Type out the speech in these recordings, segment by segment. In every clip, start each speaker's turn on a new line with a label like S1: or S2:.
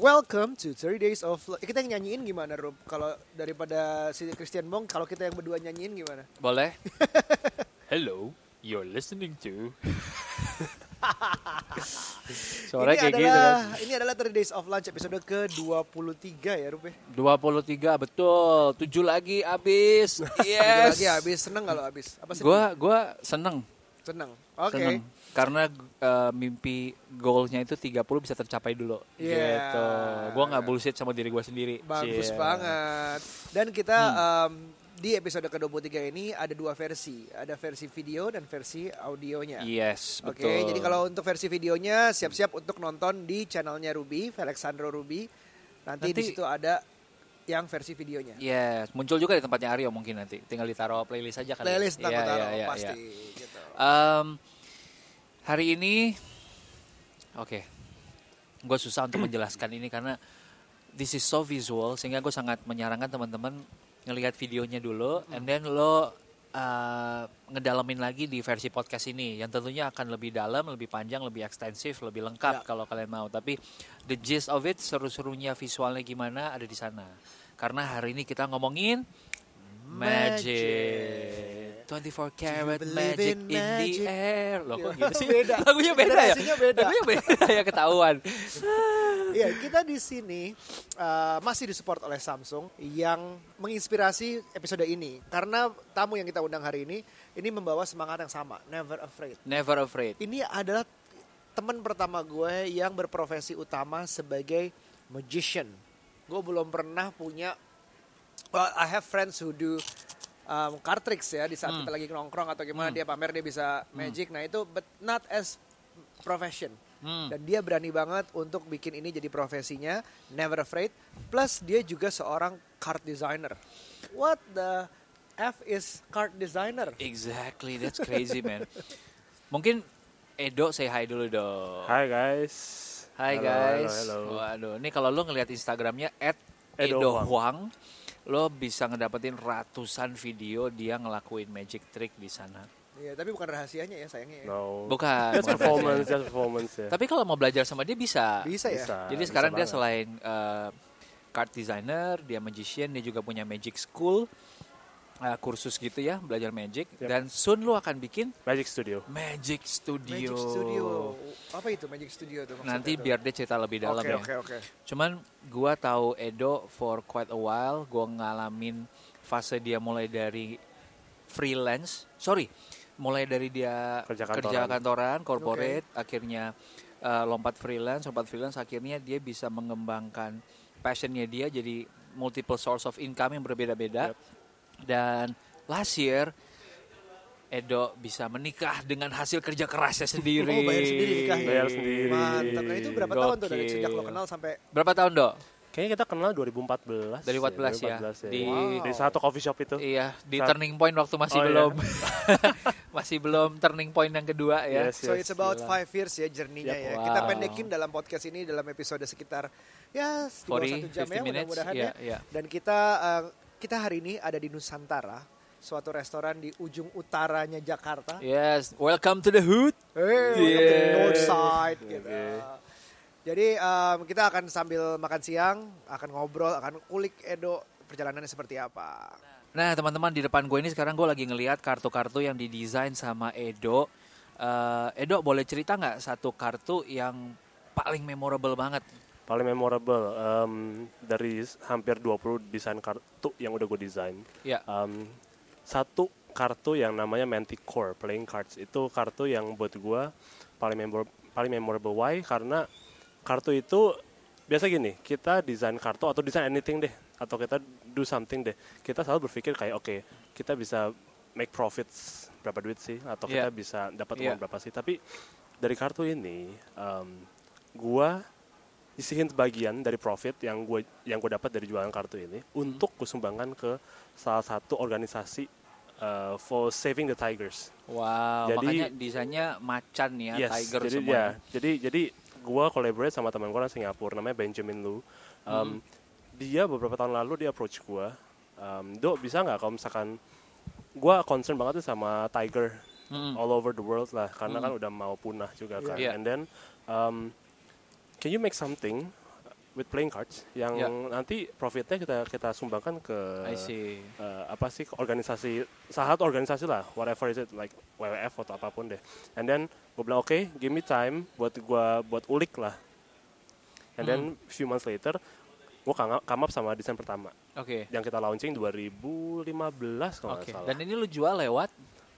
S1: Welcome to 30 Days of Love. Kita yang nyanyiin gimana, Rob? Kalau daripada si Christian Bong, kalau kita yang berdua nyanyiin gimana?
S2: Boleh? Hello, you're listening to. Suaranya
S1: ini
S2: kayak gitu
S1: adalah,
S2: kan.
S1: Ini adalah 30 Days of Lunch episode ke-23 ya, Rob ya?
S2: 23 betul, 7 lagi habis.
S1: Satu
S2: Yes.
S1: lagi habis, seneng kalau habis? Apa sih?
S2: Gua gua seneng,
S1: Seneng. Oke.
S2: seneng. Karena eh, mimpi goalnya itu 30 bisa tercapai dulu.
S1: Iya.
S2: Gitu. Gua nggak bullshit sama diri gua sendiri. Iya.
S1: Bagus
S2: Cie.
S1: banget. Dan kita
S2: Hmm.
S1: um, di episode ke-23 ini ada dua versi. Ada versi video dan versi audionya.
S2: Yes,
S1: Oke,
S2: betul.
S1: jadi kalau untuk versi videonya siap-siap untuk nonton di channelnya Ruby, Alexandro Ruby. Nanti, di
S2: Nanti- Iya,
S1: situ ada yang versi videonya.
S2: Yes, muncul juga di tempatnya Aryo mungkin nanti. Tinggal ditaruh playlist aja kali. ya.
S1: Playlist
S2: Iya,
S1: takut taruh,
S2: iya, iya,
S1: pasti.
S2: iya.
S1: Gitu.
S2: Em, hari ini, oke, gue susah untuk menjelaskan ini karena this is so visual sehingga gue sangat menyarankan teman-teman ngelihat videonya dulu,
S1: Hmm.
S2: and then lo eh, ngedalamin lagi di versi podcast ini yang tentunya akan lebih dalam, lebih panjang, lebih ekstensif, lebih
S1: Ya.
S2: lengkap kalau kalian mau. Tapi the gist of it, seru-serunya visualnya gimana ada di sana. Karena hari ini kita ngomongin Magic. 24 karat
S1: believe
S2: magic
S1: in
S2: in, the
S1: magic?
S2: air. Loh kok gitu sih?
S1: Beda.
S2: Lagunya beda ya?
S1: Intonasinya beda.
S2: Lagunya beda ya ketahuan.
S1: Iya, kita di sini uh, masih disupport oleh Samsung yang menginspirasi episode ini karena tamu yang kita undang hari ini ini membawa semangat yang sama, never afraid.
S2: Never afraid.
S1: Ini adalah teman pertama gue yang berprofesi utama sebagai magician. Gue belum pernah punya well, I have friends who do um, card tricks ya di saat kita lagi nongkrong atau gimana dia pamer dia bisa magic. Nah, itu but not as profession.
S2: Hmm.
S1: Dan dia berani banget untuk bikin ini jadi profesinya, never afraid. Plus dia juga seorang card designer. What the F is card designer?
S2: Exactly, that's crazy man. Mungkin Edo say hi dulu dong.
S3: Hai guys.
S2: Hai
S3: Halo,
S2: guys.
S3: Halo, halo.
S2: Waduh, ini kalau lo ngelihat Instagramnya at
S3: Edo
S2: Edo
S3: Huang.
S2: Huang, lo bisa ngedapetin ratusan video dia ngelakuin magic trick di sana.
S1: Iya, tapi bukan rahasianya ya sayangnya. ya.
S3: No.
S2: Bukan.
S3: Just
S2: bukan
S3: performance,
S2: berarti.
S3: just performance ya.
S2: Tapi kalau mau belajar sama dia bisa.
S1: Bisa ya?
S3: Bisa,
S2: Jadi
S3: bisa
S2: sekarang dia
S3: banget.
S2: selain eh, card designer, dia magician, dia juga punya magic school, eh, kursus gitu ya, belajar magic.
S3: Yap.
S2: Dan soon lu akan bikin
S3: Magic Studio.
S2: magic studio.
S1: Magic Studio. Apa itu Magic Studio tuh maksudnya
S2: Nanti
S1: tuh?
S2: biar dia cerita lebih dalam
S1: Oke
S2: ya.
S1: oke oke.
S2: Cuman gua tahu Edo for quite a while, gua ngalamin fase dia mulai dari freelance, sorry, mulai dari dia
S3: Kerja kantoran.
S2: kantoran, corporate, akhirnya uh, lompat freelance, lompat freelance, akhirnya dia bisa mengembangkan passionnya dia jadi multiple source of income yang berbeda-beda. Dan last year Edo bisa menikah dengan hasil kerja kerasnya sendiri.
S1: Oh, bayar sendiri nikah ya?
S3: Bayar sendiri.
S1: Mantap. Nah itu berapa tahun tuh dari
S2: Gokil.
S1: sejak lo kenal sampai
S2: Berapa tahun, Dok?
S3: Kayaknya kita kenal 2014.
S2: Dari 14 ya.
S3: 2014
S2: Di-
S3: Di satu coffee shop itu.
S2: Iya, di
S3: Saat-
S2: turning point waktu masih
S3: Gitu. Nah. Oh, iya.
S2: belum. masih belum turning point yang kedua ya.
S3: Yes,
S1: So
S3: yes.
S1: it's about
S2: gila.
S1: five years ya jerninya
S3: Yep.
S1: ya. Kita
S2: Wow.
S1: pendekin dalam podcast ini dalam episode sekitar ya di bawah
S2: 40,
S1: satu jam
S2: 50
S1: ya
S2: minutes,
S1: mudah-mudahan
S2: iya,
S1: ya.
S2: iya.
S1: Dan kita eh, kita hari ini ada di Nusantara, suatu restoran di ujung utaranya Jakarta.
S2: Yes, welcome to the hood.
S1: Hey,
S2: Yeah.
S1: welcome to the North Side gitu.
S3: Okay.
S1: Jadi em, kita akan sambil makan siang, akan ngobrol, akan kulik Edo perjalanannya seperti apa.
S2: Nah, teman-teman di depan gue ini sekarang gue lagi ngelihat kartu-kartu yang didesain sama Edo. Eh, Edo boleh cerita nggak satu kartu yang paling memorable banget?
S3: Paling memorable um, dari s- hampir 20 desain kartu yang udah gue desain.
S2: Ya.
S3: Um, satu kartu yang namanya Manticore Playing Cards itu kartu yang buat gue paling memor paling memorable why karena kartu itu biasa gini kita desain kartu atau desain anything deh atau kita do something deh kita selalu berpikir kayak oke kita bisa make profits berapa duit sih atau
S2: Yeah.
S3: kita bisa dapat
S2: Yeah.
S3: uang berapa sih tapi dari kartu ini um, gua isiin sebagian dari profit yang gue yang gue dapat dari jualan kartu ini untuk gue sumbangkan ke salah satu organisasi uh, for saving the tigers.
S2: Wow,
S3: Jadi-
S2: makanya desainnya macan ya,
S3: yes,
S2: tiger
S3: jadi
S2: semua.
S3: ya, jadi jadi gue collaborate sama teman gue orang Singapura namanya Benjamin Lu.
S2: Hmm.
S3: Um, Dia beberapa tahun lalu dia approach gue, um, do bisa nggak kalau misalkan gue concern banget tuh sama tiger
S2: Mm-mm.
S3: all over the world lah karena
S2: Hmm. Iya.
S3: kan udah mau punah juga kan.
S2: Yeah.
S3: And then um, can you make something with playing cards yang
S2: Ya.
S3: nanti profitnya kita kita sumbangkan ke
S2: I see.
S3: eh, apa sih ke organisasi salah satu organisasi lah whatever is it like WWF atau apapun deh and then gue bilang oke give me time buat gua buat ulik lah and then
S2: Hmm.
S3: few months later gue come up sama desain pertama
S2: Oke.
S3: yang kita launching 2015 kalau nggak
S2: Oke.
S3: salah
S2: Dan ini lu jual lewat?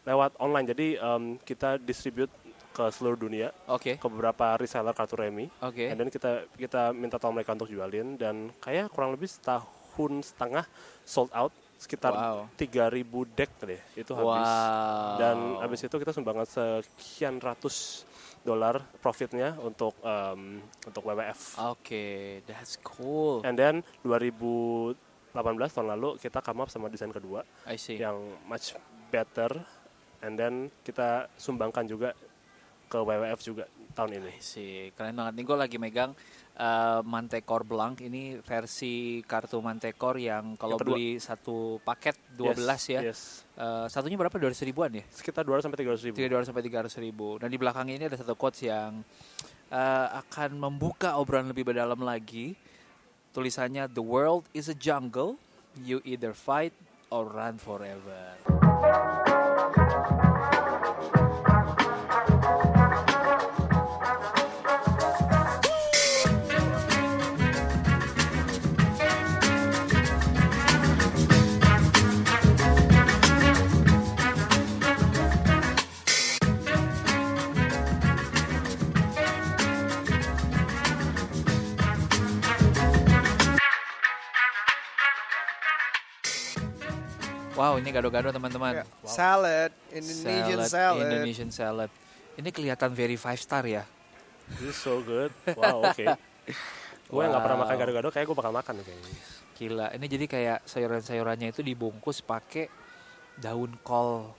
S3: lewat online jadi em, kita distribute ke seluruh dunia
S2: Oke.
S3: ke beberapa reseller kartu remi
S2: Oke.
S3: Eh, dan kita kita minta tolong mereka untuk jualin dan kayak kurang lebih setahun setengah sold out sekitar
S2: Wow.
S3: 3000 deck deh itu habis
S2: Wow.
S3: dan habis itu kita sumbangan sekian ratus dolar profitnya untuk em, untuk WWF
S2: Oke, that's cool.
S3: and then 2018 tahun lalu kita come up sama desain kedua
S2: I see.
S3: yang much better and then kita sumbangkan juga ke WWF juga tahun
S2: I
S3: ini.
S2: see. Keren banget nih gue lagi megang eh, Mantecore Blanc ini versi kartu Mantecore yang kalau
S3: Yang kedua.
S2: beli satu paket 12 ya.
S3: Yes.
S2: Eh, satunya berapa? 200 ribuan ya?
S3: Sekitar 200 sampai 300 ribu.
S2: 300 sampai 300 ribu. Dan di belakangnya ini ada satu quotes yang eh, akan membuka obrolan lebih dalam lagi. Tulisannya The world is a jungle, you either fight or run forever. Wow, ini gado-gado
S1: Ya,
S2: teman-teman.
S3: Ya.
S1: Salad, Indonesian salad.
S2: Indonesian salad. Ini kelihatan very five star ya.
S3: This is so good. Wow, oke. Gue yang gak pernah
S2: Wow.
S3: makan gado-gado kayak gue bakal makan nih kayaknya.
S2: Gila. Ini jadi kayak sayuran-sayurannya itu dibungkus pakai daun kol.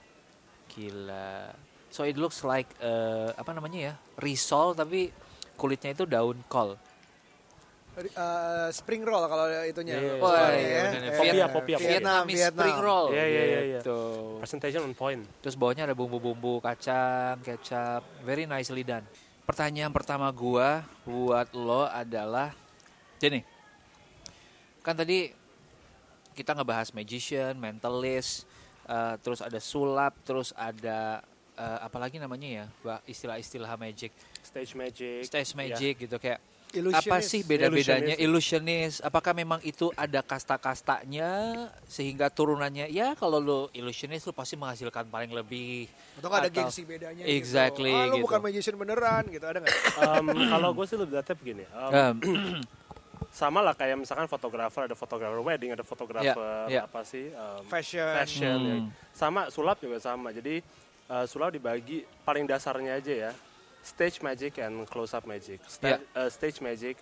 S2: Gila. So it looks like eh, apa namanya ya? Risol tapi kulitnya itu daun kol.
S1: Eh, spring roll kalau itunya.
S3: Iya,
S1: Sorry
S2: iya,
S3: iya,
S1: ya.
S2: bener-bener.
S1: Eh,
S3: Popia, popia, popia.
S1: Vietnam,
S2: Vietnamese
S1: Vietnam.
S2: spring roll.
S3: Iya, iya, iya, iya.
S2: Gitu.
S3: Presentation on point.
S2: Terus bawahnya ada bumbu-bumbu kacang, kecap, very nicely done. Pertanyaan pertama gua buat lo adalah Jenny. Kan tadi kita ngebahas magician, mentalist, eh, terus ada sulap, terus ada eh, apalagi namanya ya, Ba- istilah-istilah magic,
S3: Stage magic.
S2: stage
S3: Ya.
S2: magic gitu kayak
S1: Illusionist.
S2: apa sih beda-bedanya illusionist? Apakah memang itu ada kasta-kastanya sehingga turunannya ya kalau lu illusionist lu pasti menghasilkan paling lebih.
S1: Atau nggak ada gengsi bedanya
S2: Exactly,
S1: gitu. Ah, lu
S2: gitu.
S1: bukan magician beneran gitu, ada nggak?
S3: Em, kalau gue sih lebih dapet begini. em,
S2: Em,
S3: sama lah kayak misalkan fotografer ada fotografer wedding ada fotografer
S2: Ya, ya.
S3: apa sih em,
S1: Fashion.
S3: fashion, ya.
S2: Hmm.
S3: sama sulap juga sama jadi eh, sulap dibagi paling dasarnya aja ya stage magic and close up magic
S2: Iya.
S3: Sta- eh, stage magic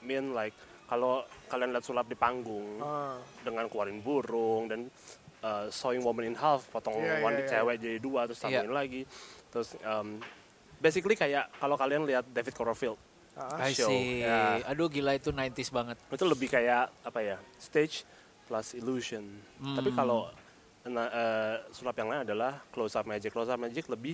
S3: mean like kalau kalian lihat sulap di panggung
S1: Ah.
S3: dengan keluarin burung dan eh, sawing woman in half potong
S1: Iya, iya,
S3: wanita
S1: iya.
S3: cewek jadi dua terus
S2: Iya.
S3: tambahin lagi terus em, basically kayak kalau kalian lihat David Copperfield
S1: Ah.
S2: I
S3: show,
S2: see.
S3: ya.
S2: Aduh gila itu 90s banget.
S3: itu lebih kayak apa ya stage plus illusion tapi
S2: Hmm.
S3: kalau na- eh, sulap yang lain adalah close up magic close up magic lebih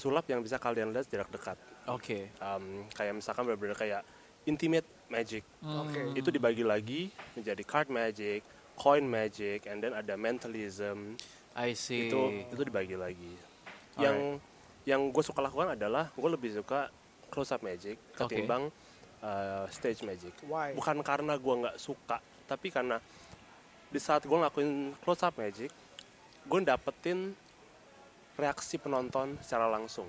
S3: sulap yang bisa kalian lihat jarak dekat
S2: Oke.
S3: Em, kayak misalkan benar-benar kayak intimate magic
S1: Oke.
S3: itu dibagi lagi menjadi card magic coin magic and then ada mentalism
S2: I see.
S3: itu itu dibagi lagi yang yang gue suka lakukan adalah gue lebih suka close up magic
S2: Oke.
S3: ketimbang uh, stage magic
S1: Why?
S3: bukan karena gue nggak suka tapi karena di saat gue ngelakuin close up magic gue dapetin reaksi penonton secara langsung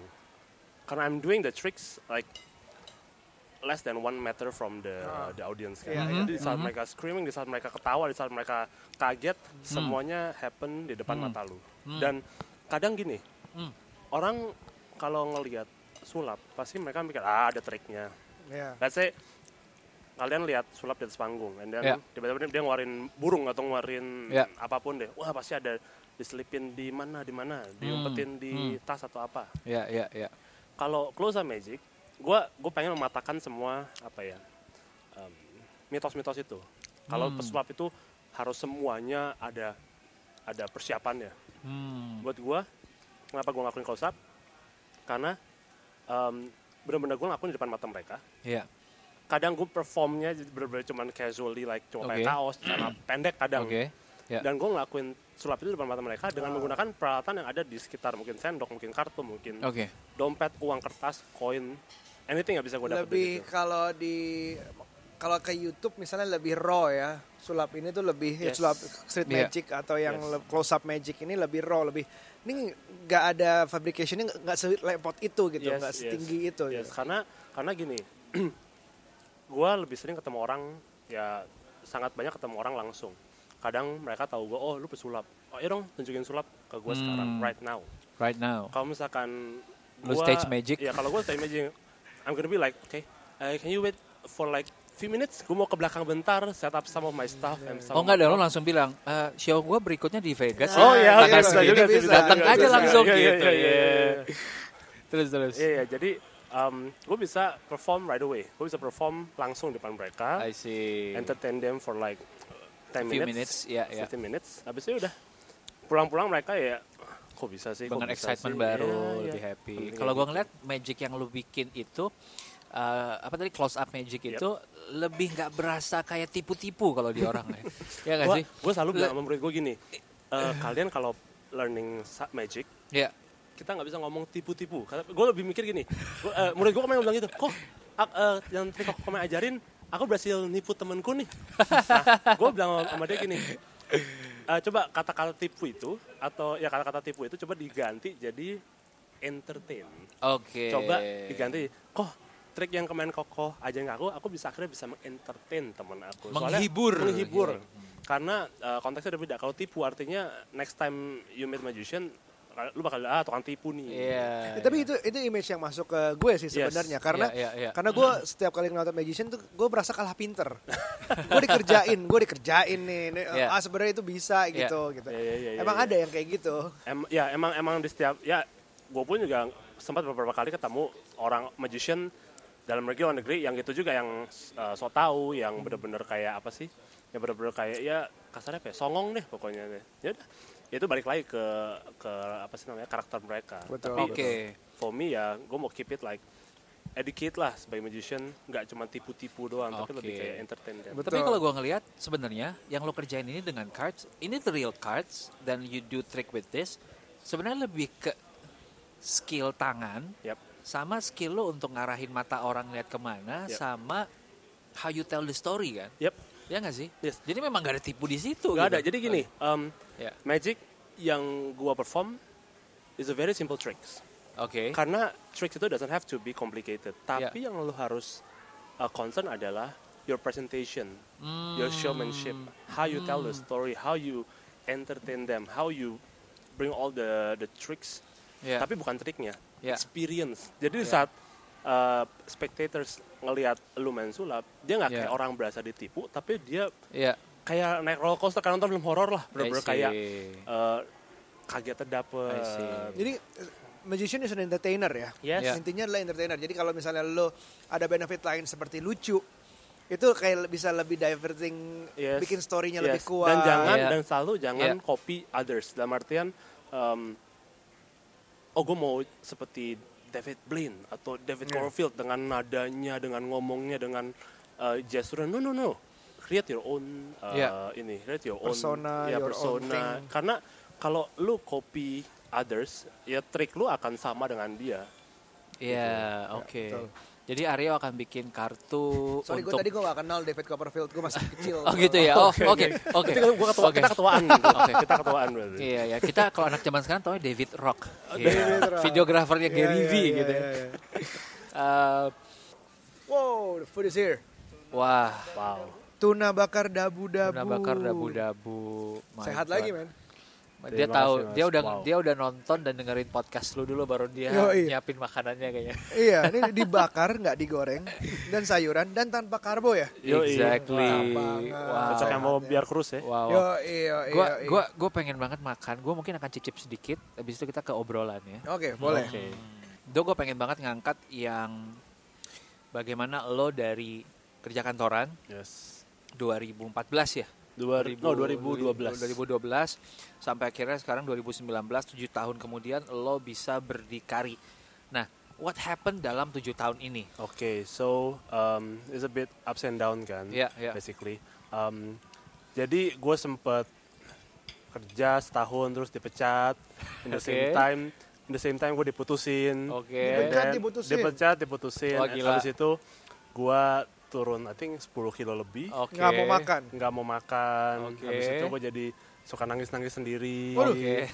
S3: karena I'm doing the tricks like less than one meter from the the audience kan.
S1: Iya,
S2: Mm-hmm.
S3: Jadi di saat mereka screaming, di saat mereka ketawa, di saat mereka kaget,
S2: Mm.
S3: semuanya happen di depan mata lu. Dan kadang gini,
S2: Mm.
S3: orang kalau ngelihat sulap pasti mereka mikir ah ada triknya.
S1: Iya.
S3: Let's say kalian lihat sulap di atas panggung, and then
S2: Ya.
S3: tiba-tiba dia ngeluarin burung atau ngeluarin
S2: Ya.
S3: apapun deh. Wah pasti ada diselipin di mana di mana,
S2: Mm.
S3: diumpetin di tas atau apa
S2: Ya ya ya.
S3: kalau close up magic, gue gue pengen mematahkan semua apa ya um, mitos-mitos itu. Kalau
S2: Hmm.
S3: pesulap itu harus semuanya ada ada persiapannya.
S2: Hmm.
S3: Buat gue, kenapa gue ngelakuin close up? Karena um, benar-benar gue ngelakuin di depan mata mereka.
S2: Ya.
S3: kadang gue performnya bener-bener cuman casually like cuma
S2: Oke.
S3: pakai
S2: Hmm.
S3: kaos celana pendek kadang
S2: Oke. Ya. Ah.
S3: dan gue ngelakuin sulap itu di depan mata mereka dengan menggunakan peralatan yang ada di sekitar mungkin sendok mungkin kartu mungkin
S2: Oke.
S3: dompet uang kertas koin anything nggak bisa gue dapetin
S1: lebih
S3: gitu.
S1: kalau di kalau ke YouTube misalnya lebih raw ya sulap ini tuh lebih ya,
S3: Yes.
S1: sulap street
S2: Iya.
S1: magic atau yang
S3: Yes.
S1: le- close up magic ini lebih raw lebih ini nggak ada fabricationnya nggak- nggak selepot itu gitu
S3: Yes,
S1: nggak
S3: yes.
S1: setinggi itu
S3: Yes,
S1: gitu.
S3: karena karena gini gue lebih sering ketemu orang ya sangat banyak ketemu orang langsung kadang mereka tahu gue oh lu pesulap oh iya dong tunjukin sulap ke gue sekarang
S2: Hmm.
S3: right now
S2: Right now.
S3: kalau misalkan
S2: Lu
S3: gua-
S2: stage magic?
S3: ya kalau gue stage magic I'm gonna be like okay uh, can you wait for like few minutes gue mau ke belakang bentar set up some of my stuff and some
S2: Oh
S3: of
S2: enggak
S3: my
S2: dong, lo langsung bilang, "Eh, show gue berikutnya di Vegas.
S3: Nah.
S2: ya."
S1: Oh, iya,
S2: Tanggal
S1: oke, bisa
S2: segini,
S1: juga sih, bisa
S2: datang
S1: juga,
S2: aja
S1: bisa
S2: langsung
S3: juga. Iya, iya,
S2: gitu.
S3: iya, iya, iya.
S2: Terus terus.
S3: Iya, iya, jadi gue bisa perform right away. Gue bisa perform langsung di depan mereka,
S2: I see.
S3: entertain them for like 10
S2: Few
S3: minutes,
S2: minutes, iya, iya.
S3: 15 minutes. Habis itu udah pulang-pulang mereka ya kok bisa sih, kok
S2: Dengan
S3: bisa
S2: excitement
S3: sih?"
S2: baru,
S3: Iya, iya.
S2: lebih happy.
S3: Penting
S2: Kalau gue
S3: gitu.
S2: ngeliat magic yang lo bikin itu eh, apa tadi close up magic
S3: Yep.
S2: itu lebih nggak berasa kayak tipu-tipu kalau di orang ya. Iya nggak
S3: Gua-
S2: sih?
S3: gua selalu
S2: Le-
S3: bilang sama murid gue gini, "Eh, kalian kalau learning sa- magic
S2: Iya.
S3: kita nggak bisa ngomong tipu-tipu. Gue lebih mikir gini, gua, eh, murid gue kemarin bilang gitu, kok ak- eh, yang trik aku kemarin ajarin, aku berhasil nipu temenku nih. Nah, gue bilang sama, sama dia gini, "Eh, coba kata-kata tipu itu atau ya kata-kata tipu itu coba diganti jadi entertain.
S2: Oke.
S3: Coba diganti, kok trik yang kemarin kokoh ajarin ke aku, aku bisa akhirnya bisa mengentertain temen aku.
S2: Menghibur.
S3: menghibur.
S2: Iya.
S3: Karena eh, konteksnya udah beda. Kalau tipu artinya next time you meet magician, lu bakal ah tukang tipu nih.
S1: Ya,
S2: Iya.
S1: tapi itu itu image yang masuk ke gue sih
S3: Yes.
S1: sebenarnya karena
S2: Iya, iya, iya.
S1: karena gue setiap kali ngeliat magician tuh gue merasa kalah pinter gue dikerjain gue dikerjain nih nih,
S2: Iya.
S1: ah sebenarnya itu bisa
S2: Iya.
S1: gitu gitu
S3: Iya, iya, iya,
S1: emang
S3: iya.
S1: ada yang kayak gitu
S3: Em- ya emang emang di setiap ya gue pun juga sempat beberapa kali ketemu orang magician dalam negeri luar negeri yang gitu juga yang eh, so tau yang bener-bener kayak apa sih yang bener-bener kayak ya kasarnya apa ya, songong deh pokoknya deh ya udah Ya itu balik lagi ke ke apa sih namanya karakter mereka
S1: Betul.
S3: tapi
S2: Oke.
S3: for me ya gue mau keep it like educate lah sebagai magician nggak cuma tipu-tipu doang tapi
S2: Oke.
S3: lebih kayak entertain kan. them.
S1: Betul.
S2: Tapi kalau gua ngelihat sebenarnya yang lo kerjain ini dengan cards, ini the real cards dan you do trick with this. Sebenarnya lebih ke skill tangan
S3: Yap.
S2: sama skill lo untuk ngarahin mata orang lihat kemana
S3: Yep.
S2: sama how you tell the story kan.
S3: Yap.
S2: Ya nggak sih?
S3: Yes.
S2: Jadi memang gak ada tipu di situ.
S3: Nggak
S2: gitu.
S3: ada. Jadi gini, em,
S2: Ya.
S3: magic yang gua perform is a very simple tricks.
S2: Oke.
S3: Karena tricks itu doesn't have to be complicated. Tapi yang lu harus uh, concern adalah your presentation, your showmanship, how you tell the story, how you entertain them, how you bring all the the tricks.
S2: Ya.
S3: Tapi bukan triknya,
S2: Ya.
S3: experience. Jadi di
S2: Ya.
S3: saat uh, spectators ngelihat lu main sulap, dia nggak
S2: Ya.
S3: kayak orang berasa ditipu, tapi dia
S2: Iya.
S3: kayak naik roller coaster kayak nonton film horor lah,
S2: I
S3: bener-bener
S2: see.
S3: kayak eh, kagetnya dapet.
S2: I see.
S1: Jadi eh, magician is an entertainer ya.
S3: Yes.
S2: Ya.
S1: Intinya adalah entertainer. Jadi kalau misalnya lo ada benefit lain seperti lucu, itu kayak le- bisa lebih diverting,
S3: Yes.
S1: bikin story-nya
S3: Yes.
S1: lebih kuat.
S3: Dan jangan
S2: Iya.
S3: dan selalu jangan
S2: Iya.
S3: copy others dalam artian em, oh gue mau seperti David Blaine atau David Copperfield dengan nadanya, dengan ngomongnya, dengan eh, gesture. No no no. Create your own eh,
S2: Iya.
S3: ini, create your
S1: Persona,
S3: own ya,
S1: your own
S3: persona.
S1: thing.
S3: Karena kalau lu copy others, ya trik lu akan sama dengan dia.
S2: Iya. Oke.
S1: betul.
S2: Jadi Aryo akan bikin kartu
S1: Sorry, gue
S2: untuk
S1: tadi gue gak kenal David Copperfield, gue masih kecil.
S2: Oh gitu ya. Oh, Oke. Oke. Oke.
S3: Kita, gua ketua- kita ketuaan. gitu. Kita ketuaan berarti.
S2: Iya ya, kita kalau anak zaman sekarang tahu David Rock. Iya.
S1: David Rock.
S2: Videografernya
S1: Iya,
S2: Gary
S1: iya,
S2: Vee
S1: iya,
S2: gitu.
S1: iya, iya.
S2: Eh,
S1: Wow, the food is here.
S2: wah,
S3: Wow.
S1: Tuna bakar dabu-dabu.
S2: udah bakar dabu-dabu. My
S1: Sehat
S2: God.
S1: lagi, men.
S2: Dia
S3: Terima
S2: tahu,
S3: kasih, Mas.
S2: dia udah
S3: Wow.
S2: dia udah nonton dan dengerin podcast lu dulu baru dia
S1: Yoi.
S2: nyiapin makanannya kayaknya.
S1: iya, ini dibakar, nggak digoreng, dan sayuran, dan tanpa karbo ya.
S3: Yoi.
S2: Exactly.
S1: Wah,
S3: Cocok yang
S1: banget.
S2: Wow.
S3: mau biar kurus ya.
S2: Wow.
S1: Yo, iya, iya,
S2: Oh. Gua
S1: iya.
S2: gua gua pengen banget makan. Gua mungkin akan cicip sedikit habis itu kita ke obrolan ya.
S1: Oke, boleh.
S3: Oke.
S2: Do gue pengen banget ngangkat yang bagaimana lo dari kerja kantoran
S3: Yes.
S2: 2014 ya?
S3: Dua, no, 2012.
S2: 2012 sampai akhirnya sekarang 2019 7 tahun kemudian lo bisa berdikari. Nah, what happened dalam tujuh tahun ini.
S3: Okay, so um, it's a bit ups and down kan,
S2: Yeah, yeah.
S3: basically. Um, jadi gue sempet kerja setahun terus dipecat. In the same
S2: Okay.
S3: time, in the same time gue diputusin.
S2: Oke.
S3: And
S1: Dipecat,
S3: then-
S1: diputusin?
S3: Dipecat, diputusin.
S2: Wah,
S3: And
S2: gila.
S3: Habis itu gue turun, I think 10 kilo lebih.
S2: Oke.
S1: nggak mau makan.
S3: Nggak mau makan.
S2: Oke.
S3: Habis itu gue jadi suka nangis-nangis sendiri.
S2: Oke.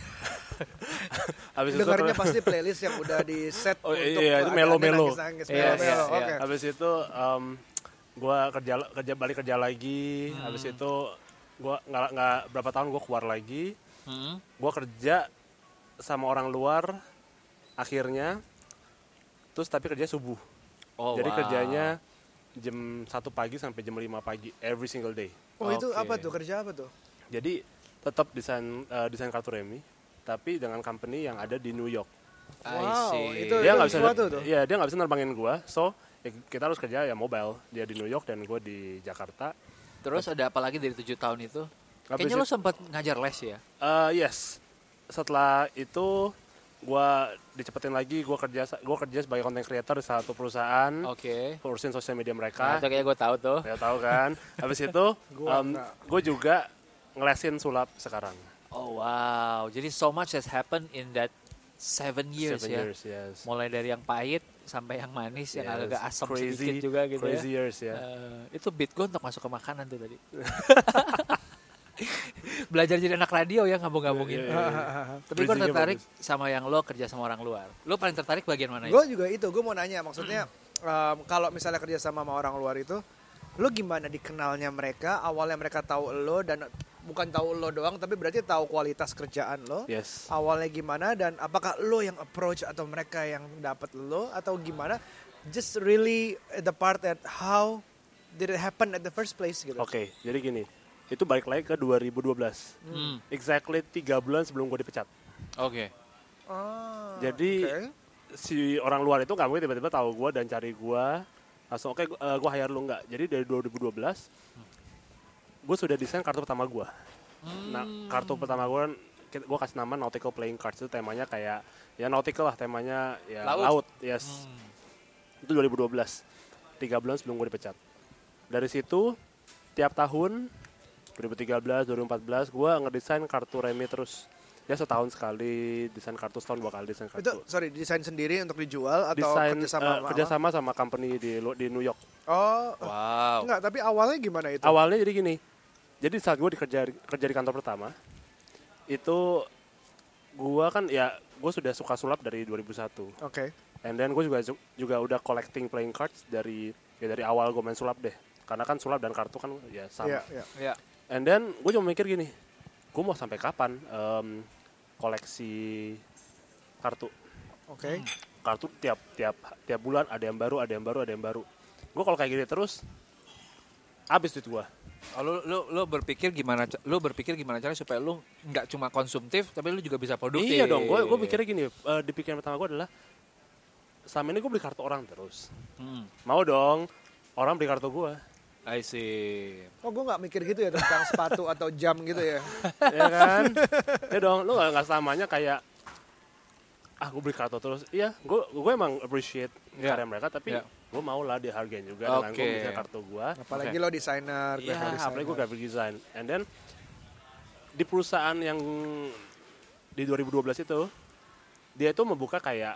S3: Habis itu
S1: Dengarnya pasti playlist yang udah di set
S3: Oh,
S1: untuk
S3: iya, itu
S1: agak
S3: melo-melo.
S1: nangis-nangis,
S2: Iya,
S1: melo-melo,
S2: iya,
S1: oke.
S2: iya.
S3: Habis itu gue kerja kerja balik kerja lagi.
S2: Hmm.
S3: Habis itu gue nggak nggak berapa tahun gue keluar lagi.
S2: Hmm.
S3: Gue kerja sama orang luar akhirnya. Terus tapi kerja subuh.
S2: Oh,
S3: Jadi
S2: wow.
S3: kerjanya jam satu pagi sampai jam 5 pagi every single day.
S1: Oh, itu
S2: Oke.
S1: apa tuh? Kerja apa tuh?
S3: Jadi tetap desain eh, desain kartu remi tapi dengan company yang ada di New York.
S2: I
S1: Wow,
S2: see.
S1: itu-
S3: dia nggak bisa
S1: sesuatu tuh.
S3: Iya, dia nggak bisa nerbangin gua so ya kita harus kerja ya mobile dia di New York dan gua di Jakarta
S2: Terus ada apa lagi dari tujuh tahun itu? Kayaknya
S3: itu-
S2: lo sempat ngajar les ya?
S3: Eh, yes setelah itu gua dicepetin lagi gua kerja gua kerja sebagai content creator di satu perusahaan
S2: Oke.
S3: urusin sosial media mereka
S1: Ah.
S2: Nah, itu kayaknya gue tahu tuh.
S3: saya tahu kan habis itu
S1: Gua
S3: em,
S1: nggak.
S3: gua juga ngelesin sulap sekarang
S2: Oh wow. Jadi so much has happened in that seven years
S3: Seven
S2: ya.
S3: years, yes.
S2: Mulai dari yang pahit sampai yang manis, yang
S3: Yes,
S2: agak asam
S3: crazy,
S2: sedikit juga gitu ya.
S3: crazy years ya
S2: Eh, itu beat gue untuk masuk ke makanan tuh tadi. Belajar jadi anak radio ya ngabung-ngabungin.
S3: Iya, iya, iya.
S2: Tapi gue
S3: Crazy-nya
S2: tertarik
S3: bagus.
S2: sama yang lo kerja sama orang luar. Lo paling tertarik bagian mana ya?
S1: Gue juga itu, gue mau nanya maksudnya em, kalau misalnya kerja sama sama orang luar itu, lo gimana dikenalnya mereka? Awalnya mereka tahu lo dan bukan tahu lo doang, tapi berarti tahu kualitas kerjaan lo.
S3: yes
S1: Awalnya gimana dan apakah lo yang approach atau mereka yang dapat lo atau gimana? Just really the part at how did it happen at the first place gitu.
S3: Oke, jadi gini. Itu balik lagi ke 2012.
S2: Hmm,
S3: Exactly tiga bulan sebelum gue dipecat.
S2: Oke.
S1: Ah,
S3: Jadi-
S1: oke.
S3: Si orang luar itu nggak mungkin tiba-tiba tahu gue dan cari gue. Langsung oke, gue gua hire lu nggak? Jadi dari 2012, gue sudah desain kartu pertama gue. Nah, kartu pertama gue gue kasih nama nautical playing cards itu temanya kayak ya nautical lah temanya ya
S2: Laut.
S3: laut, yes itu 2012 tiga bulan sebelum gue dipecat dari situ tiap tahun 2013 2014 gue ngedesain kartu remi terus ya setahun sekali desain kartu setahun dua kali desain
S1: itu
S3: kartu
S1: sorry desain sendiri untuk dijual atau
S3: desain
S1: kerjasama?
S3: eh,
S1: sama-
S3: kerjasama sama company di lu- di New York
S1: Oh,
S2: Wow.
S1: enggak, tapi awalnya gimana itu?
S3: awalnya jadi gini jadi saat gue kerja kerja di kantor pertama itu gue kan ya gue sudah suka sulap dari 2001
S1: Oke.
S3: And then gue juga juga udah collecting playing cards dari ya dari awal gue main sulap deh. Karena kan sulap dan kartu kan ya
S1: Iya,
S3: sama.
S1: iya.
S2: Ya.
S3: And then gue cuma mikir gini, gue mau sampai kapan em, koleksi kartu?
S1: Oke.
S3: Kartu tiap tiap tiap bulan ada yang baru, ada yang baru, ada yang baru. Gue kalau kayak gini terus habis duit gue.
S2: Oh, lo, lo, lo berpikir gimana? ca- Lo berpikir gimana cara supaya lo nggak cuma konsumtif, tapi lo juga bisa produktif.
S3: Iya dong, gue gue mikirnya gini, eh, di pikiran pertama gue adalah selama ini gue beli kartu orang terus.
S2: Hmm,
S3: Mau dong orang beli kartu gue.
S2: I see.
S1: Oh, gue nggak mikir gitu ya tentang sepatu atau jam gitu ya.
S3: ya kan ya dong lu nggak nggak selamanya kayak ah gue beli kartu terus iya gue gue emang appreciate
S2: Ya.
S3: karya mereka tapi
S2: Ya.
S3: gue mau lah dihargain juga dengan gue
S2: Oke.
S3: misalnya kartu gue
S1: Apalagi
S2: Oke.
S1: lo desainer,
S3: Iya,
S1: graphic designer.
S3: apalagi gue graphic design and then di perusahaan yang di 2012 itu dia itu membuka kayak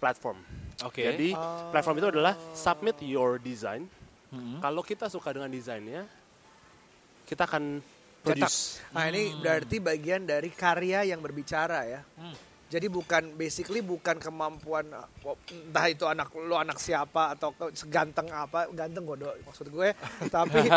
S3: platform
S2: Oke.
S3: jadi platform itu adalah submit your design
S2: Hmm.
S3: kalau kita suka dengan desainnya kita akan
S1: Cetak.
S3: produce
S1: Nah, ini berarti bagian dari karya yang berbicara ya.
S2: Hmm.
S1: Jadi bukan basically bukan kemampuan eh, entah itu anak lo anak siapa atau ke- seganteng apa, ganteng godok maksud gue. Tapi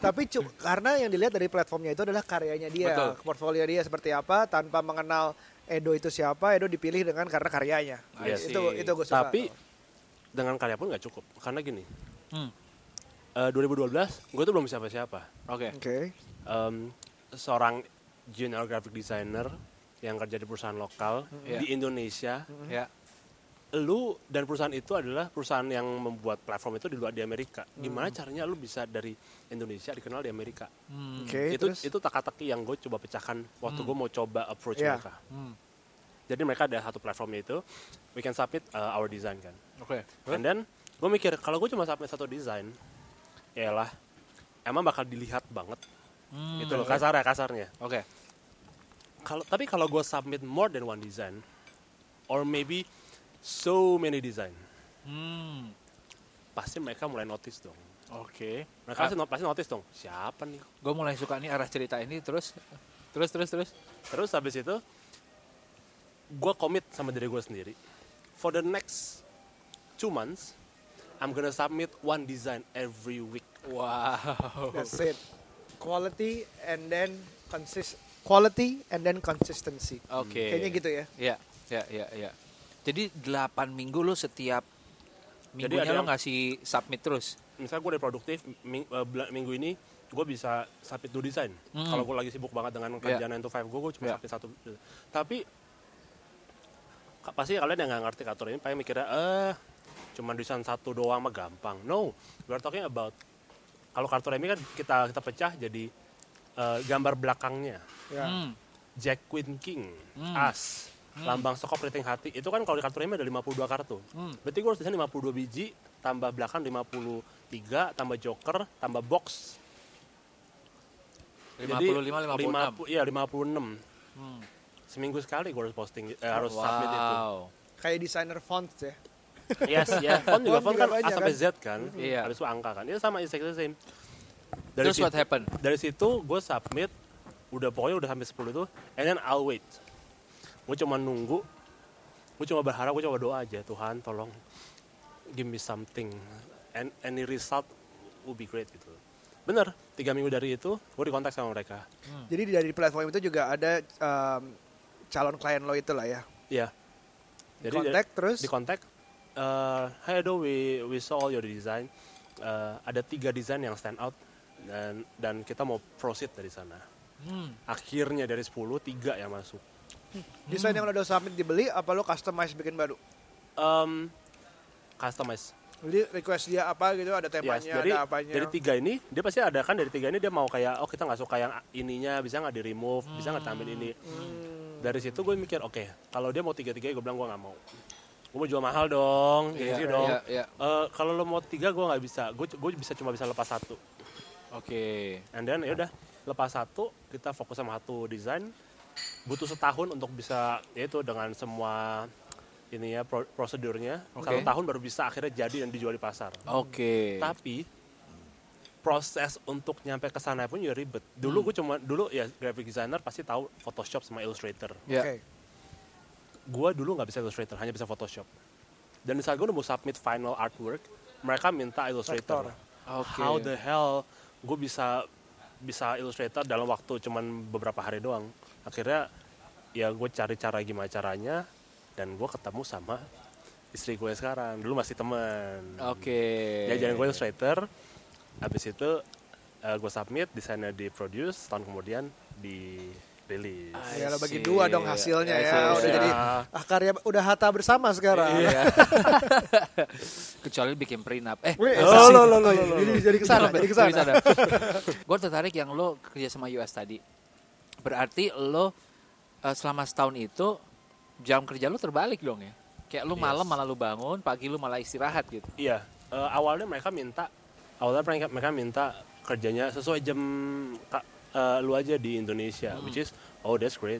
S1: tapi cu- karena yang dilihat dari platformnya itu adalah karyanya dia,
S2: Betul.
S1: portfolio dia seperti apa tanpa mengenal Edo itu siapa, Edo dipilih dengan karena karyanya.
S2: I
S1: Itu
S2: see.
S1: itu gue suka.
S3: Tapi dengan karya pun nggak cukup karena gini.
S2: Hmm.
S3: eh, 2012 gue tuh belum siapa-siapa.
S2: Oke.
S1: oke.
S3: Em, seorang junior graphic designer yang kerja di perusahaan lokal
S2: Iya.
S3: di Indonesia,
S2: Ya.
S3: lu dan perusahaan itu adalah perusahaan yang membuat platform itu di luar di Amerika. Gimana
S1: Mm.
S3: caranya lu bisa dari Indonesia dikenal di Amerika?
S2: Hmm.
S1: Oke,
S3: itu
S1: terus? Mm.
S3: itu teka-teki yang gue coba pecahkan waktu gue mau coba approach
S1: Iya.
S3: mereka.
S2: Hmm.
S3: Jadi mereka ada satu platformnya itu, we can submit uh, our design kan.
S2: Oke.
S3: And then gue mikir kalau gue cuma submit satu desain, yalah emang bakal dilihat banget.
S2: Hmm.
S3: itu
S1: Mm.
S3: loh kasarnya kasarnya.
S2: Oke.
S3: Kalau tapi kalau gue submit more than one design, or maybe so many design,
S2: Hmm.
S3: pasti mereka mulai notice dong.
S2: Oke.
S3: Mereka pasti, no- pasti notice dong. Siapa nih?
S2: Gue mulai suka nih arah cerita ini terus terus terus terus.
S3: Terus habis itu gue komit sama diri gue sendiri. For the next two months, I'm gonna submit one design every week.
S2: Wow.
S1: That's it. Quality and then consist quality and then consistency.
S2: Oke.
S1: Kayaknya gitu ya.
S2: Iya, iya, iya, iya. Jadi 8 minggu lo setiap minggunya lo
S3: ada yang-
S2: ngasih submit terus.
S3: Misalnya gue udah produktif ming- eh, bula- minggu ini, gue bisa submit two design.
S2: Hmm.
S3: Kalau gue lagi sibuk banget dengan kerjaan 9 to 5 gue, gue cuma
S2: Iya.
S3: submit satu. Tapi ka- pasti kalian yang nggak ngerti kantor ini, pengen mikirnya, eh cuma desain satu doang mah gampang. No, we are talking about kalau kartu remi kan kita kita pecah jadi eh, gambar belakangnya.
S1: Ya.
S2: Hmm.
S3: Jack Queen King,
S2: Hmm.
S3: As, lambang sokop rating hati. Itu kan kalau di kartu remi ada 52 kartu.
S2: Hmm.
S3: Berarti gue harus desain 52 biji, tambah belakang 53, tambah joker, tambah box.
S2: 55 56.
S3: 50, iya, 56.
S2: Hmm.
S3: Seminggu sekali gue harus posting, eh, harus
S2: wow.
S3: submit itu.
S1: Kayak desainer font ya.
S3: Yes, ya. Font juga,
S1: Font
S3: font
S1: juga
S3: kan A
S1: banyak,
S3: sampai
S1: kan?
S3: Z kan.
S2: Iya.
S3: Habis itu angka kan. Itu sama, exactly the same. Dari
S2: Terus
S3: situ,
S2: what happened?
S3: dari situ gue submit, udah pokoknya udah hampir 10 tuh, and then I'll wait. Gue cuma nunggu, gue cuma berharap, gue cuma doa aja, Tuhan tolong give me something, and any result will be great gitu. Bener, tiga minggu dari itu, gue dikontak sama mereka.
S1: Jadi dari platform itu juga ada um, calon klien lo itu lah ya.
S3: Iya. Jadi dari-
S1: Kontak terus.
S3: di kontak eh hi Edo we we saw all your design Eh, ada tiga desain yang stand out dan dan kita mau proceed dari sana
S2: Hmm.
S3: akhirnya dari 10 tiga yang masuk
S1: Desain yang lo udah submit dibeli apa lo customize bikin baru?
S3: Em, customize
S1: Jadi request dia apa gitu ada temanya,
S3: Yes, jadi
S1: ada apanya.
S3: dari tiga ini dia pasti ada kan dari tiga ini dia mau kayak oh kita nggak suka yang ininya bisa nggak di remove bisa nggak tambahin
S1: Hmm.
S3: ini dari situ gue mikir oke kalau dia mau tiga tiga gue bilang gue nggak mau gue mau jual mahal dong kayak
S2: Iya,
S3: gitu dong
S2: iya, iya.
S3: Eh, kalau lo mau tiga gue nggak bisa gue gue bisa cuma bisa lepas satu
S2: Oke.
S3: and then ya udah lepas satu kita fokus sama satu desain butuh setahun untuk bisa yaitu dengan semua ini ya pro- prosedurnya
S2: Oke.
S3: satu tahun baru bisa akhirnya jadi dan dijual di pasar
S2: Oke.
S3: tapi proses untuk nyampe ke sana pun juga ribet. Dulu
S2: Hmm.
S3: gue cuma dulu ya graphic designer pasti tahu Photoshop sama Illustrator.
S1: Oke.
S2: Ya.
S3: Gue dulu nggak bisa Illustrator, hanya bisa Photoshop. Dan saat gue udah mau submit final artwork, mereka minta Illustrator.
S2: Oke.
S3: How the hell gue bisa bisa Illustrator dalam waktu cuman beberapa hari doang. Akhirnya ya gue cari cara gimana caranya dan gue ketemu sama istri gue sekarang. Dulu masih teman.
S2: Oke.
S3: Ya jalan gue illustrator, habis itu eh, gue submit, desainnya di produce, tahun kemudian di release.
S1: Ya lo bagi
S2: I see.
S1: dua dong hasilnya ya.
S2: I see, I
S1: Udah
S2: see.
S1: jadi ah, karya udah hata bersama sekarang.
S2: Iya. Kecuali bikin prenup. Eh,
S1: Wih,
S2: apa
S1: oh,
S2: sih?
S1: lo, lo, lo, lo, lo. Jadi jadi kesana, jadi kesana.
S2: gue tertarik yang lo kerja sama US tadi. Berarti lo eh, selama setahun itu jam kerja lo terbalik dong ya? Kayak lo malam malah lo bangun, pagi lo malah istirahat gitu.
S3: Iya, eh, awalnya mereka minta, awalnya mereka, mereka minta kerjanya sesuai jam ka- eh, lu aja di Indonesia, which is oh that's great.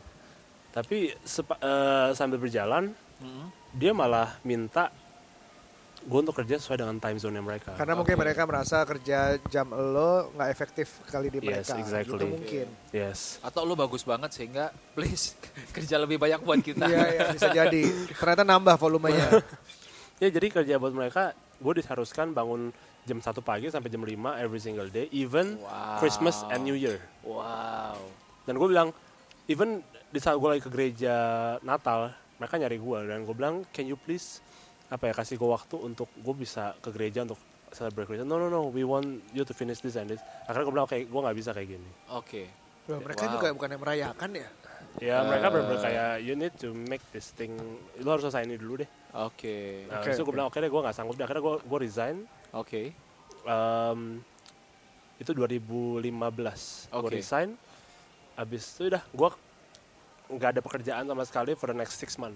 S3: Tapi sepa- eh, sambil berjalan,
S2: Mm-mm.
S3: dia malah minta gue untuk kerja sesuai dengan time zone mereka.
S1: Karena mungkin mereka merasa kerja jam lo nggak efektif kali di
S3: Yes,
S1: mereka.
S3: exactly.
S1: Itu mungkin.
S3: yes.
S2: Atau lo bagus banget sehingga please kerja lebih banyak buat kita.
S1: Iya, iya, bisa jadi. Ternyata nambah volumenya.
S3: Ya jadi kerja buat mereka, gue diharuskan bangun jam 1 pagi sampai jam 5 every single day, even
S2: Wow.
S3: Christmas and New Year.
S2: Wow.
S3: Dan gue bilang, even di saat gue lagi ke gereja Natal, mereka nyari gue dan gue bilang, can you please apa ya kasih gue waktu untuk gue bisa ke gereja untuk celebrate Christmas. No no no, we want you to finish this and this. Akhirnya gue bilang, oke, gue nggak bisa kayak gini.
S2: Oke.
S1: Loh, mereka
S2: Iya. Wow.
S1: juga bukan yang merayakan ya.
S3: Ya mereka bener-bener kayak, you need to make this thing, lu harus selesai ini dulu deh.
S2: Oke.
S3: Nah,
S1: Oke,
S3: habis itu gue
S1: oke.
S3: bilang, oke deh, gue nggak sanggup. Akhirnya gue gue resign.
S2: Oke.
S3: Em, itu 2015 gue
S2: Oke.
S3: resign abis itu udah gue nggak ada pekerjaan sama sekali for the next six month.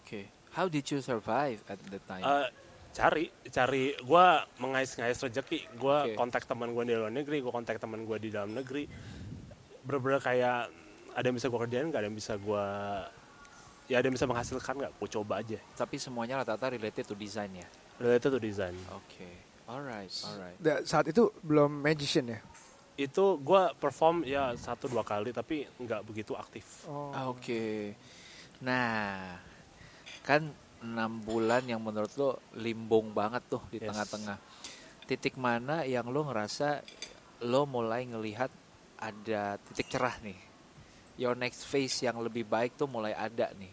S2: Okay. How did you survive at the time?
S1: Uh,
S3: Eh, cari cari gue mengais-ngais rezeki gue
S2: Oke.
S3: kontak teman gue di luar negeri gue kontak teman gue di dalam negeri bener-bener kayak ada yang bisa gue kerjain nggak ada yang bisa gue ya ada yang bisa menghasilkan nggak gue coba aja
S2: Tapi semuanya rata-rata related to design ya.
S3: related to design
S2: Oke. Alright, alright.
S1: Da- saat itu belum magician ya
S3: itu gue perform ya satu dua kali tapi nggak begitu aktif
S1: oh.
S2: Ah, Oke. Nah, kan enam bulan yang menurut lo limbung banget tuh di
S3: Yes.
S2: tengah-tengah. Titik mana yang lo ngerasa lo mulai ngelihat ada titik cerah nih. Your next phase yang lebih baik tuh mulai ada nih.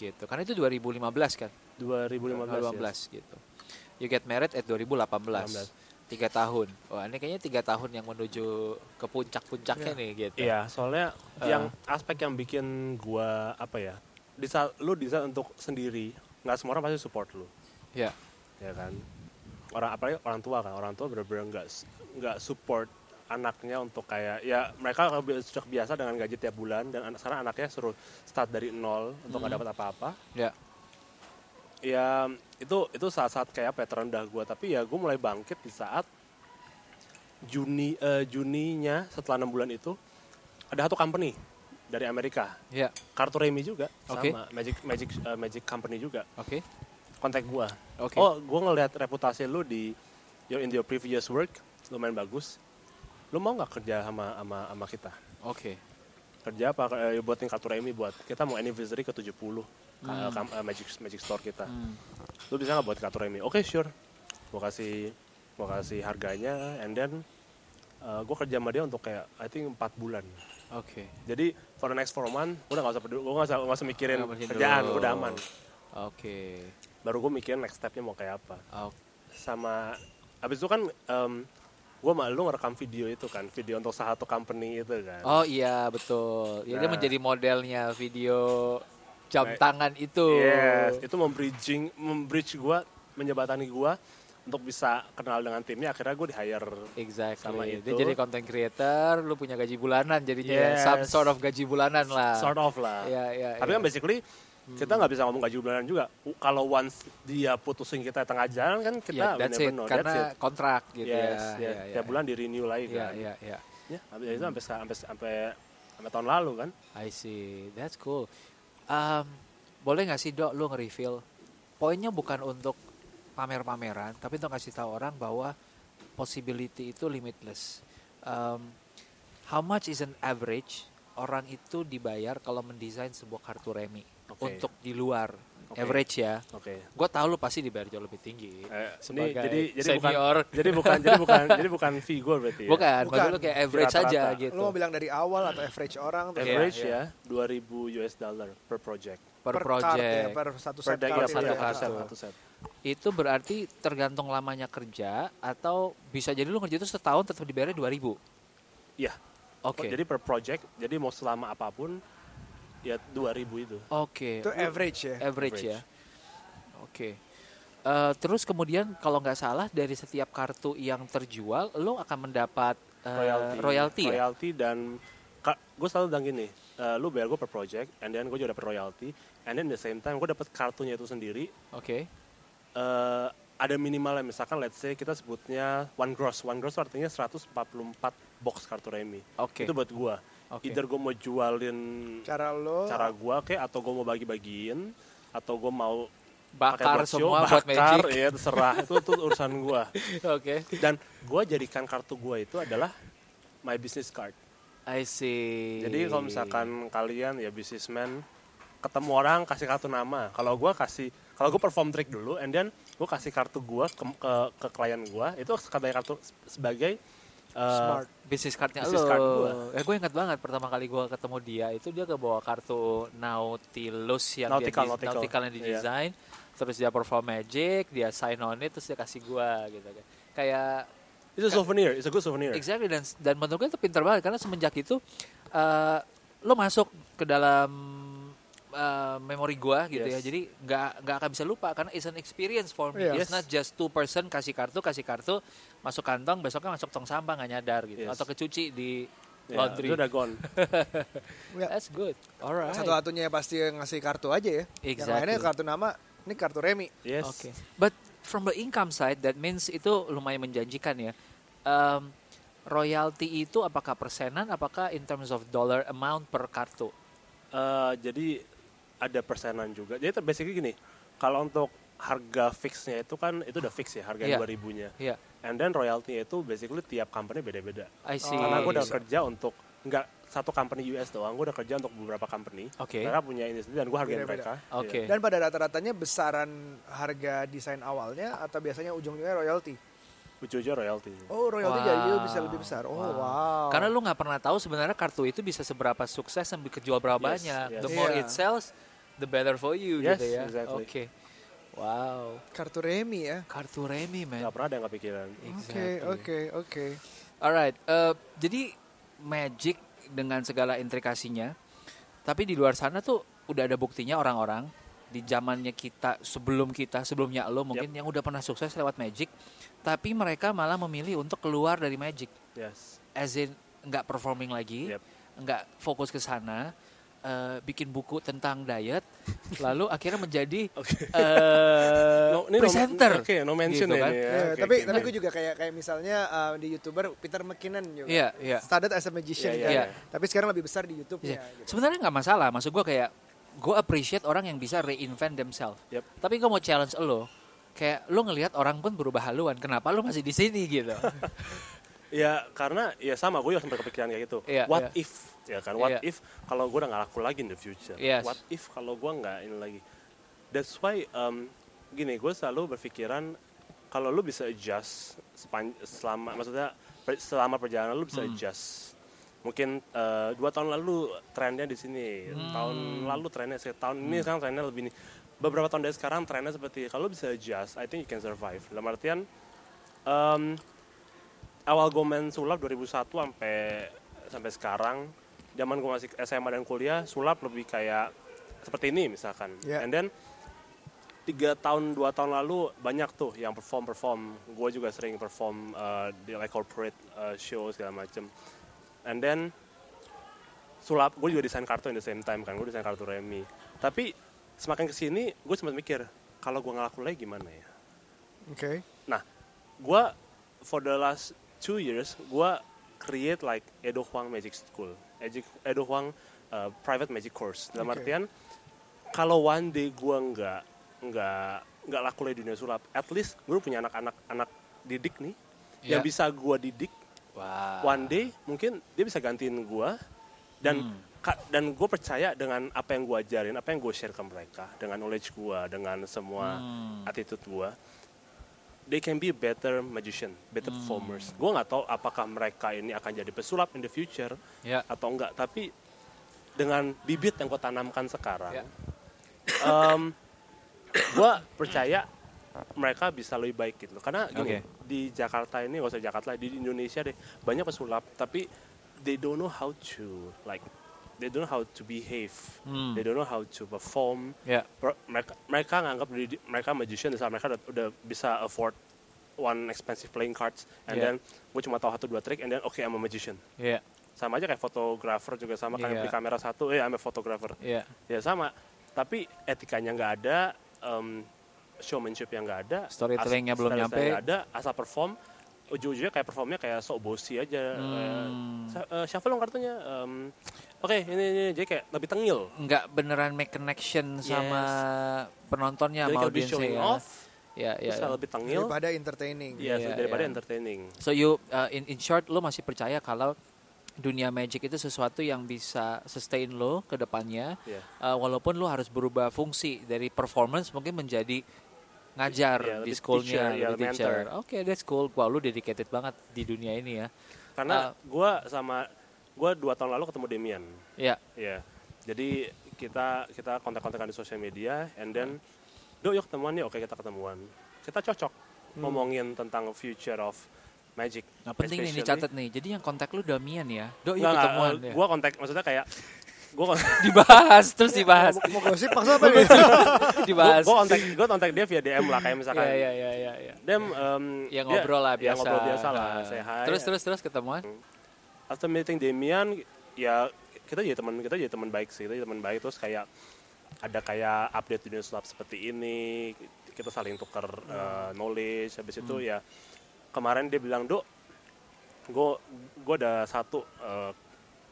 S2: Gitu. Karena itu 2015 kan?
S3: 2015
S2: 2018
S3: ya.
S2: gitu. You get married at 2018.
S3: 18.
S2: Tiga tahun. Wah ini kayaknya tiga tahun yang menuju ke puncak-puncaknya nih gitu.
S3: Iya, soalnya
S2: Eh.
S3: yang aspek yang bikin gua apa ya? Di saat lu di saat untuk sendiri, nggak semua orang pasti support lu,
S2: Iya.
S3: ya kan? Orang apalagi orang tua kan, orang tua bener-bener nggak s- nggak support anaknya untuk kayak ya mereka kalau bi- sudah biasa dengan gaji tiap bulan dan anak sekarang anaknya suruh start dari nol untuk nggak dapat apa-apa
S2: Iya.
S3: ya itu itu saat-saat kayak apa ya, terendah gue tapi ya gue mulai bangkit di saat Juni eh, Juninya setelah enam bulan itu ada satu company dari Amerika
S2: Iya.
S3: kartu Remi juga
S2: Oke.
S3: sama Magic Magic eh, Magic Company juga
S2: Oke.
S3: kontak gue
S2: Oke.
S3: oh gue ngelihat reputasi lu di your in your previous work lumayan bagus lu mau nggak kerja sama sama sama kita
S2: Oke.
S3: kerja apa Eh, buatin kartu Remi buat kita mau anniversary ke 70 puluh
S2: Hmm.
S3: eh, Magic Magic Store kita lu bisa nggak buat kartu remi oke sure gue kasih gue kasih harganya and then gue kerja sama dia untuk kayak I think 4 bulan
S2: Oke.
S3: jadi for the next four month udah nggak usah peduli gue nggak usah, nggak usah mikirin
S2: Nggak mikirin
S3: kerjaan
S2: dulu.
S3: udah aman
S2: Oke.
S3: baru gue mikirin next stepnya mau kayak apa
S2: Oke.
S3: sama abis itu kan gue malu ngerekam video itu kan video untuk salah satu company itu kan
S2: Oh iya betul. Ya, dia
S3: Nah.
S2: menjadi modelnya video jam
S3: Nah,
S2: tangan itu.
S3: Yes, itu membridging, membridge gue, menyebatani gue untuk bisa kenal dengan timnya. Akhirnya gue di hire.
S2: Exactly.
S3: Sama
S2: Dia
S3: itu.
S2: jadi content creator, lu punya gaji bulanan jadinya
S3: Yes.
S2: some sort of gaji bulanan lah.
S3: Sort of lah.
S2: Iya, iya,
S3: Tapi
S2: iya.
S3: kan basically kita nggak bisa ngomong gaji bulanan juga. U- Kalau once dia putusin kita di tengah jalan kan kita
S2: Ya, that's it.
S3: bener-bener no,
S2: Karena
S3: that's it.
S2: kontrak gitu ya.
S3: Yes, yes.
S2: Iya, iya,
S3: Tiap bulan di renew lagi
S2: Iya,
S3: kan.
S2: iya, iya.
S3: Ya, habis itu sampai sampai sampai sampai tahun lalu kan.
S2: I see. That's cool. Um, boleh nggak sih dok lu nge-reveal? Poinnya bukan untuk pamer-pameran, tapi untuk ngasih tahu orang bahwa possibility itu limitless. Um, how much is an average orang itu dibayar kalau mendesain sebuah kartu remi
S3: Oke.
S2: untuk di luar
S3: Oke.
S2: average ya?
S3: Oke.
S2: Gue tahu lu pasti dibayar jauh lebih tinggi.
S3: Eh, ini
S2: Sebagai
S3: jadi jadi
S2: senior.
S3: bukan jadi bukan jadi bukan jadi bukan fee gue berarti. ya?
S2: Bukan, bagi
S1: Bukan.
S2: lu kayak average
S3: Rata-rata.
S2: aja gitu.
S1: lu mau bilang dari awal atau average orang atau
S2: Iya,
S3: Average
S2: iya.
S3: ya 2000 US dollar per project.
S2: per,
S1: card
S2: project.
S1: ya, per satu set
S3: Produk-
S1: card
S3: iya,
S1: itu
S2: satu
S1: ya.
S3: produk
S2: kartu.
S3: set, satu set.
S2: Itu berarti tergantung lamanya kerja atau bisa jadi lu ngerja itu setahun tetap dibayarnya 2000. Oke.
S3: Iya. Jadi per project, jadi mau selama apapun ya 2000 itu.
S2: Oke.
S1: itu average ya
S2: Iya. Average
S3: Average.
S2: ya. Oke. Eh, terus kemudian kalau nggak salah dari setiap kartu yang terjual lo akan mendapat eh,
S3: Royalty.
S2: royalty ya?
S3: Royalty dan gue selalu bilang gini, eh, lu bayar gue per project, and then gue juga dapet royalty, and then the same time gue dapet kartunya itu sendiri.
S2: Oke.
S3: eh, ada minimalnya, misalkan let's say kita sebutnya one gross, one gross artinya 144 box kartu remi.
S2: Oke.
S3: Itu buat gue.
S2: Oke.
S3: Either gue mau jualin
S1: cara lo
S3: cara gue kayak atau gue mau bagi-bagiin atau gue mau pakai
S2: Bakar
S3: buat show,
S2: semua buat
S3: bakar,
S2: magic.
S3: ya terserah itu tuh urusan gue
S2: Oke.
S3: dan gue jadikan kartu gue itu adalah my business card
S2: I see.
S3: jadi kalau misalkan kalian ya businessman ketemu orang kasih kartu nama kalau gue kasih kalau gue perform trick dulu and then gue kasih kartu gue ke, ke, ke klien gue itu sebagai kartu sebagai uh,
S1: smart
S2: Eh, bisnis cardnya lo.
S3: Business card gua.
S2: Eh, gue ingat banget pertama kali gue ketemu dia itu dia kebawa kartu Nautilus yang
S3: Nautical,
S2: dia,
S3: Nautical. Iya.
S2: Nautical yang didesain. Terus dia perform magic, dia sign on it, terus dia kasih gue gitu kan. Kayak
S3: itu souvenir itu good souvenir
S2: exactly dan dan menurut gue itu pintar banget karena semenjak itu eh, lo masuk ke dalam eh, memori gue gitu ya.
S3: Yes.
S2: Jadi nggak nggak akan bisa lupa karena it's an experience for me.
S1: Yes.
S2: It's not just two person kasih kartu kasih kartu masuk kantong besoknya masuk tong sampah nggak nyadar gitu
S3: Yes.
S2: atau kecuci di
S3: Ya,
S2: Laundry.
S3: itu udah gone.
S1: Ya.
S2: That's good. Alright.
S1: Satu-satunya pasti ngasih kartu aja ya. Yang
S2: Exactly.
S1: lainnya kartu nama, ini kartu remi.
S3: Yes.
S2: Oke. But from the income side, that means itu lumayan menjanjikan ya. Um, royalty itu apakah persenan, apakah in terms of dollar amount per kartu?
S3: Eh, jadi ada persenan juga. Jadi ter- basically gini, kalau untuk harga fixnya itu kan itu udah fix ya harga
S2: Iya.
S3: 2000-nya.
S2: Ya,
S3: And then royalty itu basically tiap company beda-beda.
S2: I see.
S3: Oh. Karena
S1: aku
S3: gue udah
S1: Bisa.
S3: kerja untuk nggak satu company US doang, gue udah kerja untuk beberapa company.
S2: Oke.
S3: Mereka punya ini sendiri dan gue hargain mereka. Iya.
S1: Beda-beda.
S2: Oke.
S1: Dan pada rata-ratanya besaran harga desain awalnya atau biasanya ujung-ujungnya royalty.
S3: Iya. Ujung-ujungnya royalty.
S1: Oh, royalty
S2: Wow.
S1: jadi bisa lebih besar. Oh, wow.
S2: Karena lu nggak pernah tahu sebenarnya kartu itu bisa seberapa sukses dan kejual berapa
S3: Yes,
S2: banyak.
S3: yes.
S2: The more
S1: Iya.
S2: it sells, the better for you
S3: Yes,
S2: gitu ya.
S3: exactly.
S2: Oke. Wow.
S1: kartu remi ya.
S2: Kartu remi, man.
S3: Gak pernah ada yang kepikiran.
S1: Oke, oke, oke.
S2: Alright, eh, jadi magic dengan segala intrikasinya, tapi di luar sana tuh udah ada buktinya orang-orang di zamannya kita, sebelum kita, sebelumnya lo mungkin yang udah pernah sukses lewat magic, tapi mereka malah memilih untuk keluar dari magic,
S3: Yes.
S2: as in nggak performing lagi,
S3: Yep.
S2: nggak fokus ke sana, eh, bikin buku tentang diet, lalu akhirnya menjadi eh,
S3: No, ini no-
S2: presenter.
S3: Oke, no mention
S2: Gitu
S3: ya
S2: kan.
S3: ini ya.
S1: Ya,
S3: Oke,
S1: tapi
S3: oke.
S1: tapi gue juga kayak kayak misalnya uh, di youtuber Peter McKinnon juga.
S2: Iya, iya.
S1: Started as a magician
S3: Iya,
S1: kan.
S2: iya.
S1: Tapi sekarang lebih besar di YouTube.
S2: Iya.
S1: nya Gitu.
S2: Sebenarnya nggak masalah. Maksud gue kayak gue appreciate orang yang bisa reinvent themselves.
S3: Yep.
S2: Tapi gue mau challenge lo. Kayak lo ngelihat orang pun berubah haluan. Kenapa lo masih di sini gitu?
S3: Ya karena ya sama gue juga sempat kepikiran kayak gitu.
S2: Iya,
S3: what
S2: iya.
S3: if ya kan? What
S2: Iya.
S3: if kalau gue udah nggak laku lagi in the future?
S2: Yes.
S3: What if kalau gue nggak ini lagi? That's why um, gini gue selalu berpikiran kalau lu bisa adjust sepan, selama maksudnya per- selama perjalanan lu bisa
S2: Hmm.
S3: adjust. Mungkin eh, dua tahun lalu trennya di sini,
S2: Hmm.
S3: tahun lalu trennya se- tahun ini sekarang trennya lebih ini. Beberapa tahun dari sekarang trennya seperti kalau lu bisa adjust, I think you can survive. Dalam artian em, awal gue main sulap 2001 sampai sampai sekarang zaman gue masih SMA dan kuliah sulap lebih kayak seperti ini misalkan
S1: Ya.
S3: and then tiga tahun dua tahun lalu banyak tuh yang perform perform gue juga sering perform uh, di like corporate uh, show segala macem and then sulap gue juga desain kartu in the same time kan gue desain kartu remi tapi semakin kesini gue sempat mikir kalau gue ngelaku lagi gimana ya
S1: Oke.
S3: Nah, gue for the last two years gue create like Edo Huang Magic School, Edo, Edo Huang uh, private magic course. Dalam
S1: Oke.
S3: artian kalau one day gue nggak nggak nggak laku lagi di dunia sulap, at least gue punya anak-anak anak didik nih yang
S2: Iya.
S3: bisa gue didik
S2: Wah.
S3: one day mungkin dia bisa gantiin gue dan ka- dan gue percaya dengan apa yang gue ajarin apa yang gue share ke mereka dengan knowledge gue dengan semua attitude gue they can be better magician better
S2: Hmm.
S3: performers gue nggak tahu apakah mereka ini akan jadi pesulap in the future
S2: Ya.
S3: atau enggak tapi dengan bibit yang gue tanamkan
S2: Ya.
S3: sekarang gue percaya mereka bisa lebih baik gitu loh. karena gini
S2: Oke.
S3: di Jakarta ini nggak usah Jakarta lah, di Indonesia deh banyak pesulap tapi they don't know how to like they don't know how to behave
S2: Hmm.
S3: they don't know how to perform
S2: Ya.
S3: Per- mereka mereka nganggap diri di- mereka magician di saat mereka udah, udah bisa afford one expensive playing cards and
S2: Yeah.
S3: then gue cuma tahu satu dua trick and then okay I'm a magician
S2: Ya.
S3: sama aja kayak fotografer juga sama kan
S2: Iya.
S3: beli kamera satu eh I'm a photographer
S2: Ya.
S3: ya sama tapi etikanya nggak ada em, showmanship yang nggak ada
S2: Storytellingnya
S3: as-
S2: belum
S3: storytelling
S2: nyampe.
S3: nggak ada asal perform ujung-ujungnya kayak performnya kayak sok bosi aja kayak,
S2: Hmm.
S3: "Sa- eh, shuffle dong kartunya Em, oke ini, ini ini." jadi kayak lebih tengil
S2: Nggak beneran make connection sama penontonnya
S3: jadi
S2: sama
S3: kayak lebih
S2: audiensnya
S3: showing
S2: ya.
S3: off
S2: Ya, ya,
S3: bisa
S2: ya.
S3: lebih tengil
S1: Daripada entertaining.
S3: Iya,
S2: Iya,
S3: daripada
S2: iya.
S3: entertaining
S2: So you uh, in in short lo masih percaya kalau dunia magic itu sesuatu yang bisa sustain lo ke depannya
S3: Iya.
S2: Uh, walaupun lo harus berubah fungsi dari performance mungkin menjadi ngajar
S3: Iya,
S2: di
S3: lebih
S2: schoolnya
S3: teacher, iya,
S2: lebih
S3: mentor.
S2: teacher. Oke, that's cool. Wow, lo dedicated banget di dunia ini ya.
S3: karena gue sama gue dua tahun lalu ketemu Demian
S2: Ya,
S3: Iya. Jadi kita kita kontak-kontakan di sosial media and then do yuk ketemuan yuk. Oke, kita ketemuan. Kita cocok ngomongin tentang future of magic.
S2: nah Hmm. penting nih dicatat nih. Jadi yang kontak lo Damian ya. Dok, yuk
S3: Enggak,
S2: ketemuan ya.
S3: eh, Gua kontak maksudnya kayak gua kon-
S2: dibahas terus dibahas,
S1: Mau, mau gosip maksud apa nih?
S2: dibahas.
S3: gua kontak gua kontak dia via DM lah kayak misalkan.
S2: Ya, ya, ya, ya, ya.
S3: Dem em,
S2: Ya
S3: dia-
S2: ngobrol lah biasa.
S3: Ya Iya, ngobrol biasa lah,
S2: Nah.
S3: say hi.
S2: Terus terus terus ketemuan.
S3: after meeting Demian ya kita jadi teman kita jadi teman baik sih kita jadi teman baik terus kayak ada kayak update dunia sulap seperti ini kita saling tukar uh, knowledge habis itu ya kemarin dia bilang dok gue gue ada satu uh,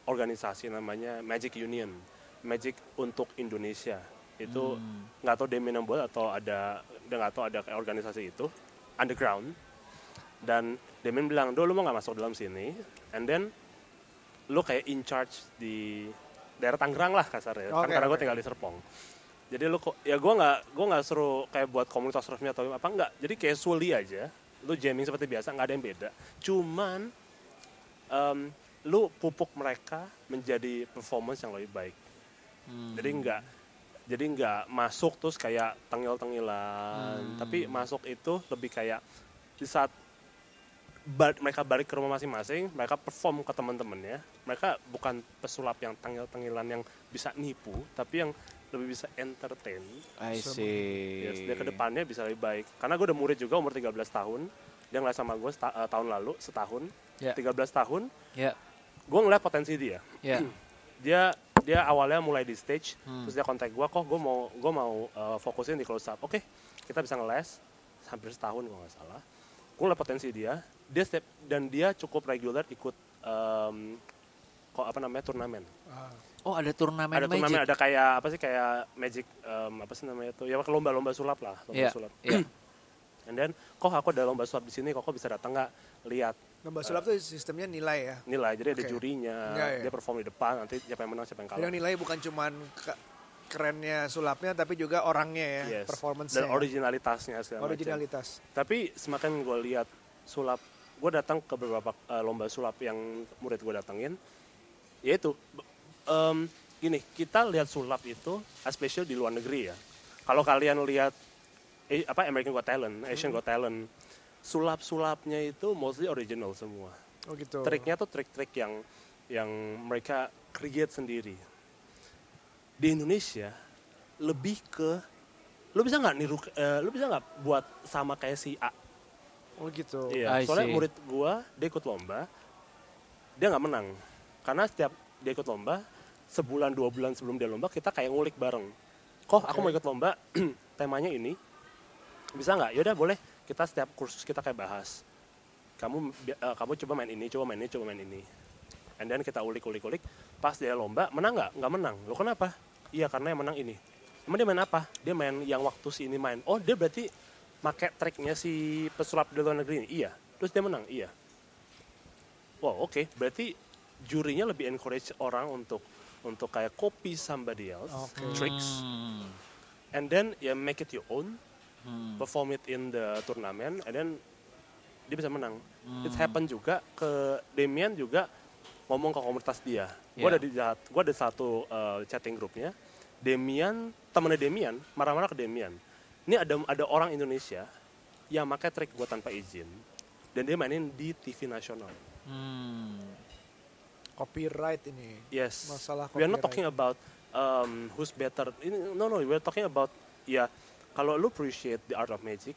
S3: organisasi namanya Magic Union Magic untuk Indonesia itu
S1: Hmm.
S3: nggak tahu Demian yang buat atau ada dia nggak tahu ada kayak organisasi itu underground dan Demian bilang do lu mau nggak masuk dalam sini and then lu kayak in charge di daerah Tangerang lah kasarnya
S1: Oke,
S3: kan karena gue
S1: oke.
S3: tinggal di Serpong jadi lu kok ya gue nggak gue nggak seru kayak buat komunitas resmi atau apa nggak jadi casually aja lu jamming seperti biasa nggak ada yang beda cuman em, lu pupuk mereka menjadi performance yang lebih baik jadi nggak jadi nggak masuk terus kayak tengil-tengilan tapi masuk itu lebih kayak di saat ba- mereka balik ke rumah masing-masing mereka perform ke teman-temannya mereka bukan pesulap yang tengil-tengilan yang bisa nipu tapi yang lebih bisa entertain
S2: I see.
S3: Yes, dia kedepannya bisa lebih baik karena gue udah murid juga umur 13 tahun dia ngeles sama gue seta- eh, tahun lalu setahun
S2: Ya.
S3: 13 tahun
S2: Ya,
S3: gue ngeliat potensi dia
S2: ya.
S3: dia dia awalnya mulai di stage
S1: Hmm.
S3: terus dia kontak gue kok gue mau gue mau uh, fokusin di close up oke kita bisa ngeles hampir setahun kalau nggak salah gue liat potensi dia dia step dan dia cukup reguler ikut um, kok apa namanya turnamen
S2: Oh, ada turnamen
S3: ada
S2: magic. Iya.
S3: turnamen ada kayak apa sih kayak magic um, apa sih namanya itu ya lomba-lomba sulap lah lomba
S2: Iya,
S3: sulap
S2: iya.
S3: and then kok aku ada lomba sulap di sini kok aku bisa datang nggak lihat
S1: Lomba sulap tuh sistemnya nilai ya.
S3: nilai jadi ada
S1: Oke.
S3: jurinya
S1: Iya, iya.
S3: dia perform di depan nanti siapa yang menang siapa yang kalah
S1: Jadi nilai bukan cuman ke- kerennya sulapnya tapi juga orangnya ya,
S3: Yes.
S1: performance
S3: dan originalitasnya segala macam.
S1: originalitas.
S3: Tapi semakin gue lihat sulap, gue datang ke beberapa eh, lomba sulap yang murid gue datengin, yaitu b- em, gini kita lihat sulap itu especially di luar negeri ya. Kalau kalian lihat eh, apa American Got Talent, Asian Got Talent, sulap-sulapnya itu mostly original semua.
S1: Oh gitu.
S3: Triknya tuh trik-trik yang yang mereka create sendiri. Di Indonesia lebih ke lu bisa nggak niru eh, lu bisa nggak buat sama kayak si A
S1: Oh gitu.
S3: Iya,
S2: I
S3: soalnya
S2: see.
S3: murid gua dia ikut lomba, dia nggak menang. Karena setiap dia ikut lomba, sebulan dua bulan sebelum dia lomba kita kayak ngulik bareng. Kok aku mau ikut lomba, temanya ini, bisa nggak? Yaudah boleh. Kita setiap kursus kita kayak bahas. Kamu bi- eh, kamu coba main ini, coba main ini, coba main ini. And then kita ulik-ulik-ulik. Pas dia lomba, menang nggak? Nggak menang. Lo kenapa? Iya karena yang menang ini. Emang dia main apa? Dia main yang waktu si ini main. Oh dia berarti pakai triknya si pesulap di luar negeri ini. Iya. Terus dia menang. Iya. Wow oke. Berarti jurinya lebih encourage orang untuk untuk kayak copy somebody else
S1: Oke.
S3: tricks
S2: Hmm.
S3: and then ya make it your own
S2: Hmm.
S3: perform it in the turnamen and then dia bisa menang it happen juga ke Demian juga ngomong ke komunitas dia gue
S2: Yeah.
S3: ada di saat- gua ada satu uh, chatting grupnya Demian temennya Demian marah-marah ke Demian ini ada ada orang Indonesia yang pakai trik gue tanpa izin dan dia mainin di TV nasional
S2: Hmm.
S1: Copyright ini.
S3: Yes.
S1: Masalah
S3: We are not
S1: copyright.
S3: talking about um, who's better. Ini- No no, we are talking about ya kalau lu appreciate the art of magic,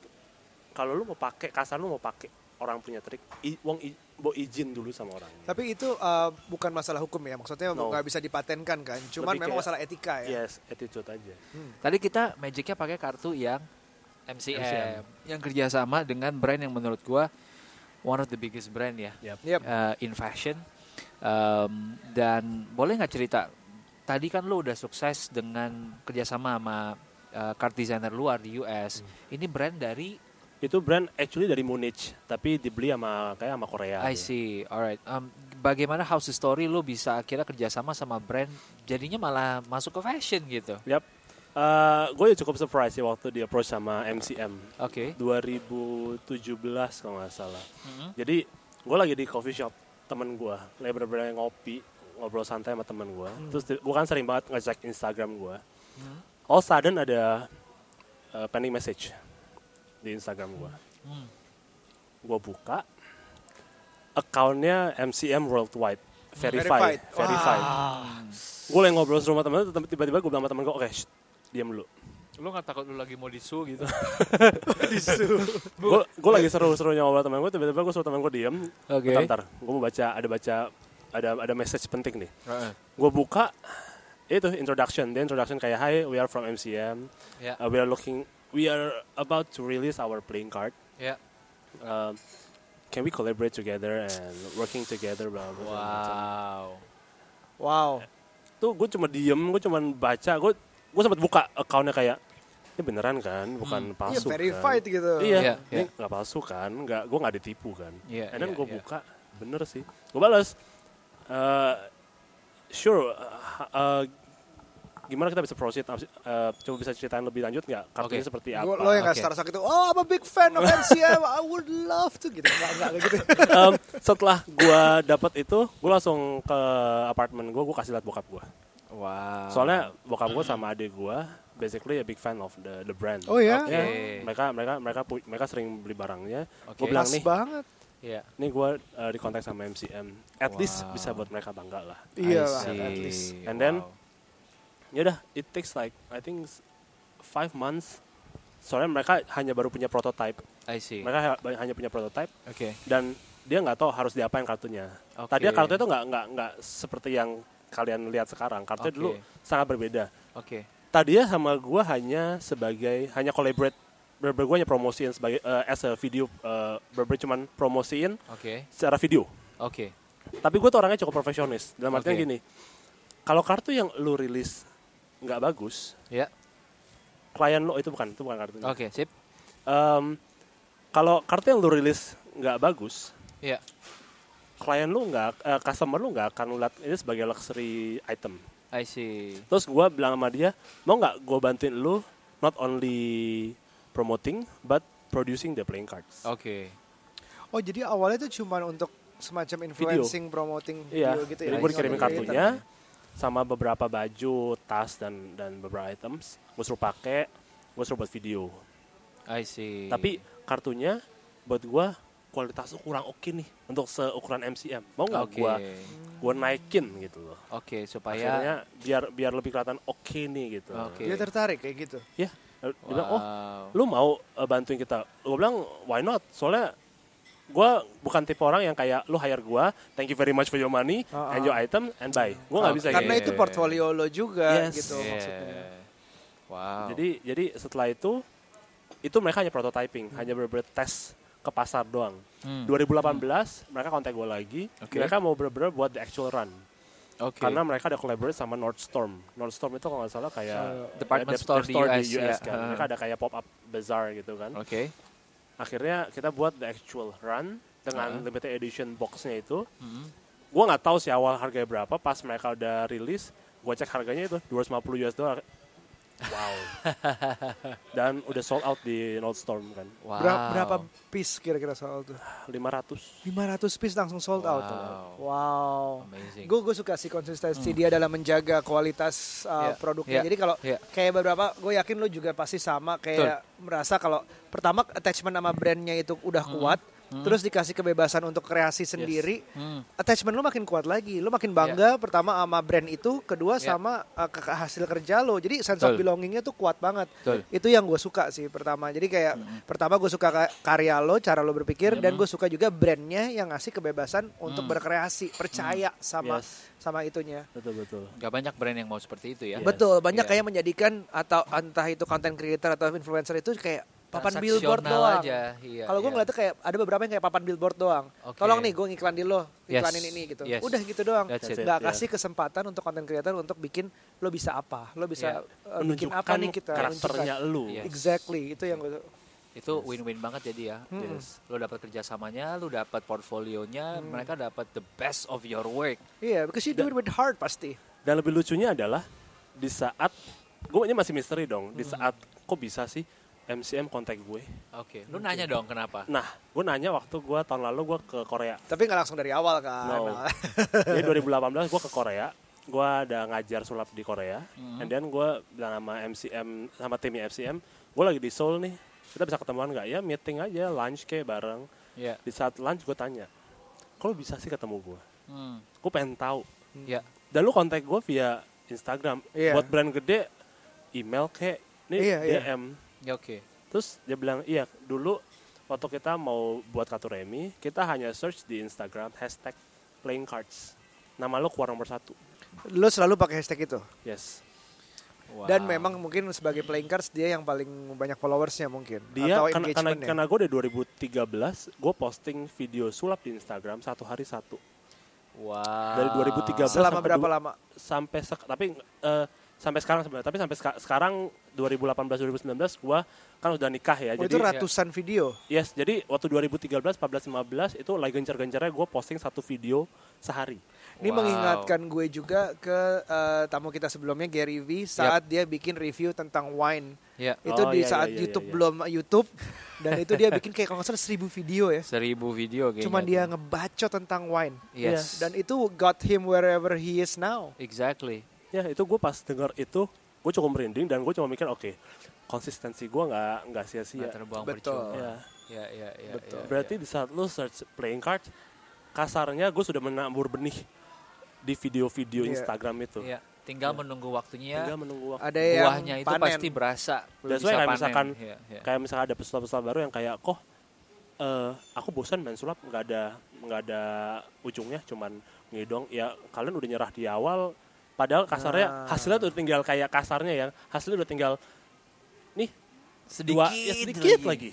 S3: kalau lu mau pakai kasar lu mau pakai orang punya trik, i, wong i, bo izin dulu sama orang.
S1: Tapi itu uh, bukan masalah hukum ya, maksudnya
S3: No.
S1: nggak bisa dipatenkan kan. Cuman memang
S3: Lebih kayak- Iya.
S1: masalah etika ya.
S3: Yes, attitude aja.
S2: Tadi kita magicnya pakai kartu yang MCM,
S3: MCM.
S2: yang kerjasama dengan brand yang menurut gua one of the biggest brand ya
S3: Yap.
S1: Yep.
S2: eh, in fashion. Em, dan boleh nggak cerita? Tadi kan lo udah sukses dengan kerjasama sama eh, card designer luar di US.
S3: Hmm.
S2: Ini brand dari
S3: Itu brand actually dari Munich, tapi dibeli sama kayak sama Korea.
S2: I see, alright. Um, bagaimana house story lo bisa akhirnya kerjasama sama brand? Jadinya malah masuk ke fashion gitu.
S3: Yap. Eh, gue cukup surprise ya waktu di approach sama MCM.
S2: Oke.
S3: 2017 kalau nggak salah.
S2: Mhm.
S3: Jadi gue lagi di coffee shop temen gue, lagi bener-bener ngopi, ngobrol santai sama temen gue. Terus di- gua kan sering banget ngecek Instagram gue. All sudden ada uh, pending message di Instagram gue.
S2: Hmm.
S3: Gue buka, accountnya MCM Worldwide verified,
S1: Verified.
S3: verified. Gue lagi ngobrol sama temen, tiba-tiba gue bilang sama temen gue, oke, shh, diam dulu.
S2: Lo nggak takut lo lagi mau disu gitu?
S3: gue lagi seru-serunya ngobrol temen gue tiba-tiba gue suruh temen gue diem
S2: Oke.
S3: bentar, bentar gue mau baca ada baca ada ada message penting nih gue buka itu introduction the introduction kayak hi we are from MCM
S2: Ya,
S3: Uh, we are looking we are about to release our playing card
S2: ya.
S3: Um, can we collaborate together and working together blah blah, blah, blah.
S2: Wow.
S1: Wow.
S3: tuh gue cuma diem gue cuma baca gue gue sempat buka accountnya kayak ini beneran kan bukan
S1: Iya,
S3: palsu
S1: verified
S3: kan
S1: gitu.
S3: iya
S2: Iya,
S3: ini
S2: iya.
S3: nggak palsu kan nggak gue nggak ditipu kan
S2: Iya,
S3: and then
S2: iya,
S3: gue
S2: iya.
S3: buka bener sih gue balas eh, sure eh, eh, gimana kita bisa proceed Abis- eh, coba bisa ceritain lebih lanjut nggak kartunya
S2: Oke.
S3: seperti Iya, apa
S1: Gua- lo yang nggak
S2: Oke.
S1: star shock itu, oh I'm a big fan of MCM, I would love to gitu. Enggak, enggak kayak gitu.
S3: Em, setelah gua dapat itu, gua langsung ke apartemen gua, gua kasih lihat bokap gua.
S2: Wow.
S3: Soalnya bokap gua sama adik gua basically a big fan of the the brand.
S1: Oh ya?
S3: Ya,
S2: Oke.
S3: Mereka mereka mereka pu- mereka sering beli barangnya.
S2: Oke.
S3: Gua
S1: Pas
S3: bilang nih,
S1: banget.
S2: ya.
S3: nih gua eh, di kontak sama MCM. At
S2: Wow.
S3: least bisa buat mereka bangga lah.
S1: Iya
S2: I
S1: lah,
S2: see.
S1: at least.
S3: And then-
S2: Wow.
S3: Ya udah, it takes like I think s- five months. Soalnya mereka hanya baru punya prototype.
S2: I see. Oke.
S3: Mereka ha- hanya punya prototype dan dia nggak tahu harus diapain kartunya.
S2: Oke.
S3: Tadinya kartunya itu nggak nggak nggak seperti yang kalian lihat sekarang. Kartunya
S2: Oke.
S3: dulu sangat berbeda.
S2: Oke.
S3: Tadinya sama gua hanya sebagai hanya collaborate berber gue hanya promosiin sebagai eh, as a video eh, berber cuman promosiin
S2: Oke.
S3: secara video.
S2: Oke.
S3: Tapi gue tuh orangnya cukup profesionalis. Dalam artian
S2: Oke.
S3: gini, kalau kartu yang lu rilis nggak bagus,
S2: Ya.
S3: klien lo itu bukan itu bukan kartunya.
S2: Oke, sip.
S3: Em, kalau kartu yang lu rilis nggak bagus,
S2: Ya.
S3: klien lu nggak eh, customer lu nggak akan lihat ini sebagai luxury item
S2: I see.
S3: terus gue bilang sama dia mau nggak gue bantuin lu not only promoting but producing the playing cards
S2: Oke.
S1: Oh jadi awalnya itu cuma untuk semacam influencing, promoting
S3: iya
S1: video ya? gitu ya.
S3: jadi gue dikirimin
S1: Something like
S3: kartunya sama beberapa baju tas dan dan beberapa items gue suruh pakai gue suruh buat video
S2: I
S1: Iya.
S2: see.
S3: tapi kartunya buat gue kualitas lu kurang oke nih untuk seukuran MCM mau nggak
S2: Oke.
S3: gue gue naikin gitu loh
S2: Oke, supaya
S3: akhirnya biar biar lebih kelihatan oke nih gitu
S1: gitu.
S2: Oke.
S1: Dia tertarik kayak gitu.
S3: ya dia bilang oh
S2: Wow.
S3: lu mau eh, bantuin kita gue bilang why not soalnya gue bukan tipe orang yang kayak lu hire gue thank you very much for your money
S1: Ah,
S3: and your item and buy gue nggak
S2: Oke.
S3: bisa
S1: Karena
S3: kayak
S1: itu
S3: gitu.
S1: portfolio lo juga
S3: Yes. Iya.
S1: gitu
S2: Yeah.
S1: maksudnya.
S2: Wow.
S3: jadi jadi setelah itu itu mereka hanya prototyping hanya bener tes ke pasar doang
S2: Hmm.
S3: 2018 mereka kontak gue lagi
S2: Oke.
S3: mereka mau bener-bener buat the actual run
S2: Oke.
S3: karena mereka ada collaborate sama Nordstorm Nordstorm itu kalau nggak salah kayak
S2: Department
S3: dep-
S2: store
S3: dep
S2: di US, ya.
S3: kan
S2: Ah.
S3: mereka ada kayak pop up bazaar gitu kan
S2: Oke.
S3: akhirnya kita buat the actual run dengan
S2: Ah.
S3: limited edition boxnya itu
S2: Mm-mm.
S3: gua nggak tahu sih awal harganya berapa pas mereka udah rilis gua cek harganya itu 250 US dollar wow dan udah sold out di Nordstorm kan
S2: Wow.
S1: Berapa, berapa piece kira-kira soal itu?
S3: 500
S1: 500 piece langsung sold out.
S2: Wow.
S1: Wow.
S2: Amazing.
S1: Gue gue suka sih konsistensi dia dalam menjaga kualitas uh,
S2: Ya,
S1: produknya.
S2: ya,
S1: Jadi kalau
S2: ya.
S1: kayak beberapa, gue yakin lo juga pasti sama kayak merasa kalau pertama attachment sama brandnya itu udah kuat, terus dikasih kebebasan untuk kreasi sendiri,
S2: Hmm.
S1: attachment lo makin kuat lagi, lo
S2: Iya.
S1: makin bangga pertama sama brand itu, kedua
S2: Ya.
S1: sama uh, ke- ke hasil kerja lo. Jadi sense of
S2: Betul.
S1: belongingnya tuh kuat banget.
S2: Betul.
S1: Itu yang gue suka sih pertama. Jadi kayak pertama gue suka ka- karya lo, cara lo berpikir, dan gue suka juga brandnya yang ngasih kebebasan untuk
S2: Mm.
S1: berkreasi, percaya sama
S3: Yes.
S1: sama itunya.
S3: betul betul
S2: Gak banyak brand yang mau seperti itu ya.
S3: Yes.
S1: Betul, banyak
S2: Iya.
S1: kayak menjadikan atau entah itu content creator atau influencer itu kayak papan
S2: Transaksional
S1: billboard doang.
S2: aja, iya,
S1: Kalau gue
S2: iya.
S1: ngeliatnya kayak ada beberapa yang kayak papan billboard doang.
S2: Oke.
S1: Tolong nih gue ngiklan di lo, iklanin
S2: Yes,
S1: ini gitu.
S2: yes.
S1: Udah gitu doang.
S2: That's
S1: nggak
S2: it,
S1: Gak
S3: yeah.
S1: kasih kesempatan untuk content creator untuk bikin lo bisa apa, lo bisa eh, bikin
S3: menunjukkan
S1: apa nih kita.
S3: karakternya
S1: menunjukkan.
S3: lu
S2: Yes.
S1: Exactly, itu yang gue
S2: Itu win-win banget jadi ya.
S1: Hmm.
S3: Yes.
S2: Lo dapat kerjasamanya, lo dapat
S1: Hmm.
S2: portfolionya, mereka dapat the best of your work.
S1: Iya, because you do it with heart pasti.
S3: dan lebih lucunya adalah di saat gue ini masih misteri dong di saat kok bisa sih MCM kontak gue
S2: Oke. Lo nanya dong kenapa?
S3: nah gue nanya waktu gua tahun lalu gua ke Korea
S1: Tapi nggak langsung dari awal kan.
S3: No. Jadi 2018 gue ke Korea, gue ada ngajar sulap di Korea,
S1: Hmm.
S3: and then gue bilang sama MCM sama timnya MCM, gue lagi di Seoul nih, kita bisa ketemuan nggak ya? Meeting aja, lunch kayak bareng.
S2: Ya.
S3: Di saat lunch gue tanya, kalau bisa sih ketemu gue?
S2: Hmm.
S3: Gue pengen tahu.
S2: Ya.
S3: Dan lu kontak gue via Instagram,
S1: Iya.
S3: buat brand gede, email kayak, nih
S1: Iya, iya.
S3: DM.
S2: Ya, Oke.
S3: Terus dia bilang, iya dulu waktu kita mau buat kartu remi, kita hanya search di Instagram hashtag playing cards. nama lo keluar nomor satu.
S1: Lo selalu pakai hashtag itu.
S3: Yes.
S1: Dan memang mungkin sebagai playing cards dia yang paling banyak followersnya mungkin.
S3: Dia
S1: Atau ya?
S3: karena, karena,
S1: engagementnya.
S3: karena gue dari 2013 gue posting video sulap di Instagram satu hari satu
S2: Wow.
S3: dari 2013
S1: Selama
S3: sampai
S1: berapa
S3: du-
S1: lama?
S3: sampai sek- tapi eh, sampai sekarang sebenarnya tapi sampai seka- sekarang 2018 2019 gue kan udah nikah ya
S1: Oh,
S3: jadi
S1: itu ratusan video.
S3: yes jadi waktu 2013 14 15 itu lagi gencar-gencarnya gue posting satu video sehari
S1: Ini
S2: Wow.
S1: mengingatkan gue juga ke eh, tamu kita sebelumnya Gary V saat dia bikin review tentang wine.
S2: Ya.
S1: Itu
S3: Oh,
S1: di
S3: iya, iya,
S1: saat
S3: iya,
S1: YouTube
S3: iya.
S1: belum YouTube dan itu dia bikin kayak kalau nggak salah seribu video ya.
S2: Seribu video kayaknya.
S1: Cuman dia
S2: tuh.
S1: ngebacot tentang wine
S2: Yes.
S1: dan itu got him wherever he is now.
S2: Exactly.
S3: ya itu gue pas denger itu gue cukup merinding dan gue cuma mikir oke konsistensi gue nggak nggak sia-sia
S2: Nggak terbuang
S1: Iya, Betul. Iya.
S2: percuma.
S3: ya
S2: Ya, ya, ya,
S1: Betul.
S2: ya,
S3: berarti
S2: ya.
S3: di saat lu search playing card kasarnya gue sudah menabur benih di video-video
S1: Iya.
S3: Instagram itu
S2: Ya, tinggal menunggu waktunya.
S3: tinggal menunggu waktu
S1: Ada yang
S2: Buahnya itu
S1: panen.
S2: pasti berasa. lu
S3: That's
S2: bisa
S3: why kayak
S2: panen.
S3: misalkan
S2: Ya, ya.
S3: kayak misalnya ada pesulap-pesulap baru yang kayak kok eh, aku bosan main sulap nggak ada nggak ada ujungnya cuman ngidong ya kalian udah nyerah di awal padahal kasarnya
S1: Nah.
S3: hasilnya udah tinggal kayak kasarnya ya hasilnya udah tinggal nih
S2: sedikit,
S3: dua ya, sedikit lagi.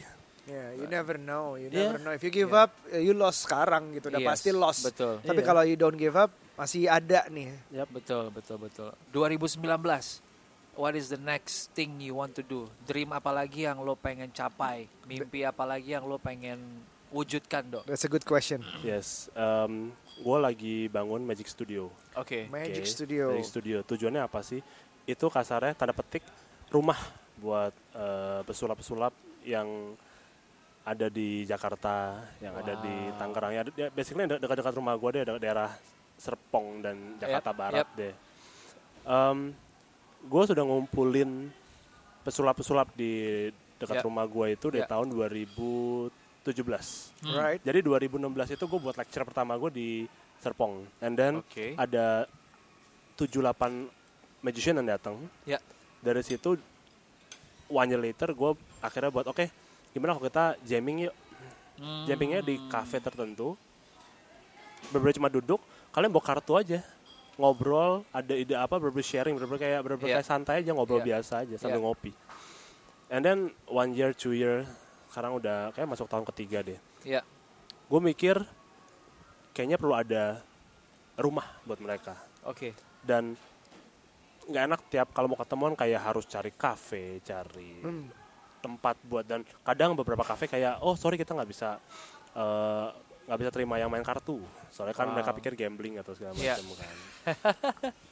S1: Yeah, you never know, you
S3: Yeah.
S1: never know. If you give
S2: Yeah.
S1: up, eh, you lost sekarang gitu. Udah
S2: Yes,
S1: pasti lost.
S2: Betul.
S1: Tapi
S3: Iya.
S1: kalau you don't give up, masih ada nih.
S2: Betul, betul, betul. 2019. What is the next thing you want to do? Dream apa lagi yang lo pengen capai? Mimpi apa lagi yang lo pengen wujudkan, Dok?
S1: That's a good question.
S3: Mm-hmm. Yes, gue lagi bangun Magic Studio.
S2: Oke.
S1: Magic
S3: Oke,
S1: Studio.
S3: Magic Studio. Tujuannya apa sih? Itu kasarnya tanda petik rumah buat eh, pesulap-pesulap yang ada di Jakarta, yang ada di
S2: Wow.
S3: Tangerang. Ya, de- basically de- dekat-dekat rumah gue deh, de- daerah Serpong dan Jakarta
S2: Yap,
S3: Barat
S2: yap.
S3: deh. gue sudah ngumpulin pesulap-pesulap di dekat
S2: Yap.
S3: rumah gue itu dari
S2: Yap.
S3: tahun 2017.
S1: Right?
S3: Jadi 2016 itu gue buat lecture pertama gue di Serpong. And then
S2: Oke.
S3: ada 78 magician yang datang.
S2: Ya.
S3: Dari situ one year later gue akhirnya buat oke gimana kalau kita jamming yuk.
S2: Hmm.
S3: Jammingnya di cafe tertentu. Berbeda cuma duduk, kalian bawa kartu aja. Ngobrol, ada ide apa, berbeda sharing, berbeda kayak bener-bener
S2: Iya.
S3: kayak santai aja ngobrol
S2: Iya.
S3: biasa aja
S2: Iya.
S3: sambil ngopi. And then one year, two year, sekarang udah kayak masuk tahun ketiga deh
S2: Ya.
S3: gue mikir kayaknya perlu ada rumah buat mereka
S2: Oke.
S3: dan nggak enak tiap kalau mau ketemuan kayak harus cari kafe cari
S1: Hmm.
S3: tempat buat dan kadang beberapa kafe kayak oh sorry kita nggak bisa eh, nggak bisa terima yang main kartu soalnya kan
S2: Wow.
S3: mereka pikir gambling atau segala
S2: Iya.
S3: macam kan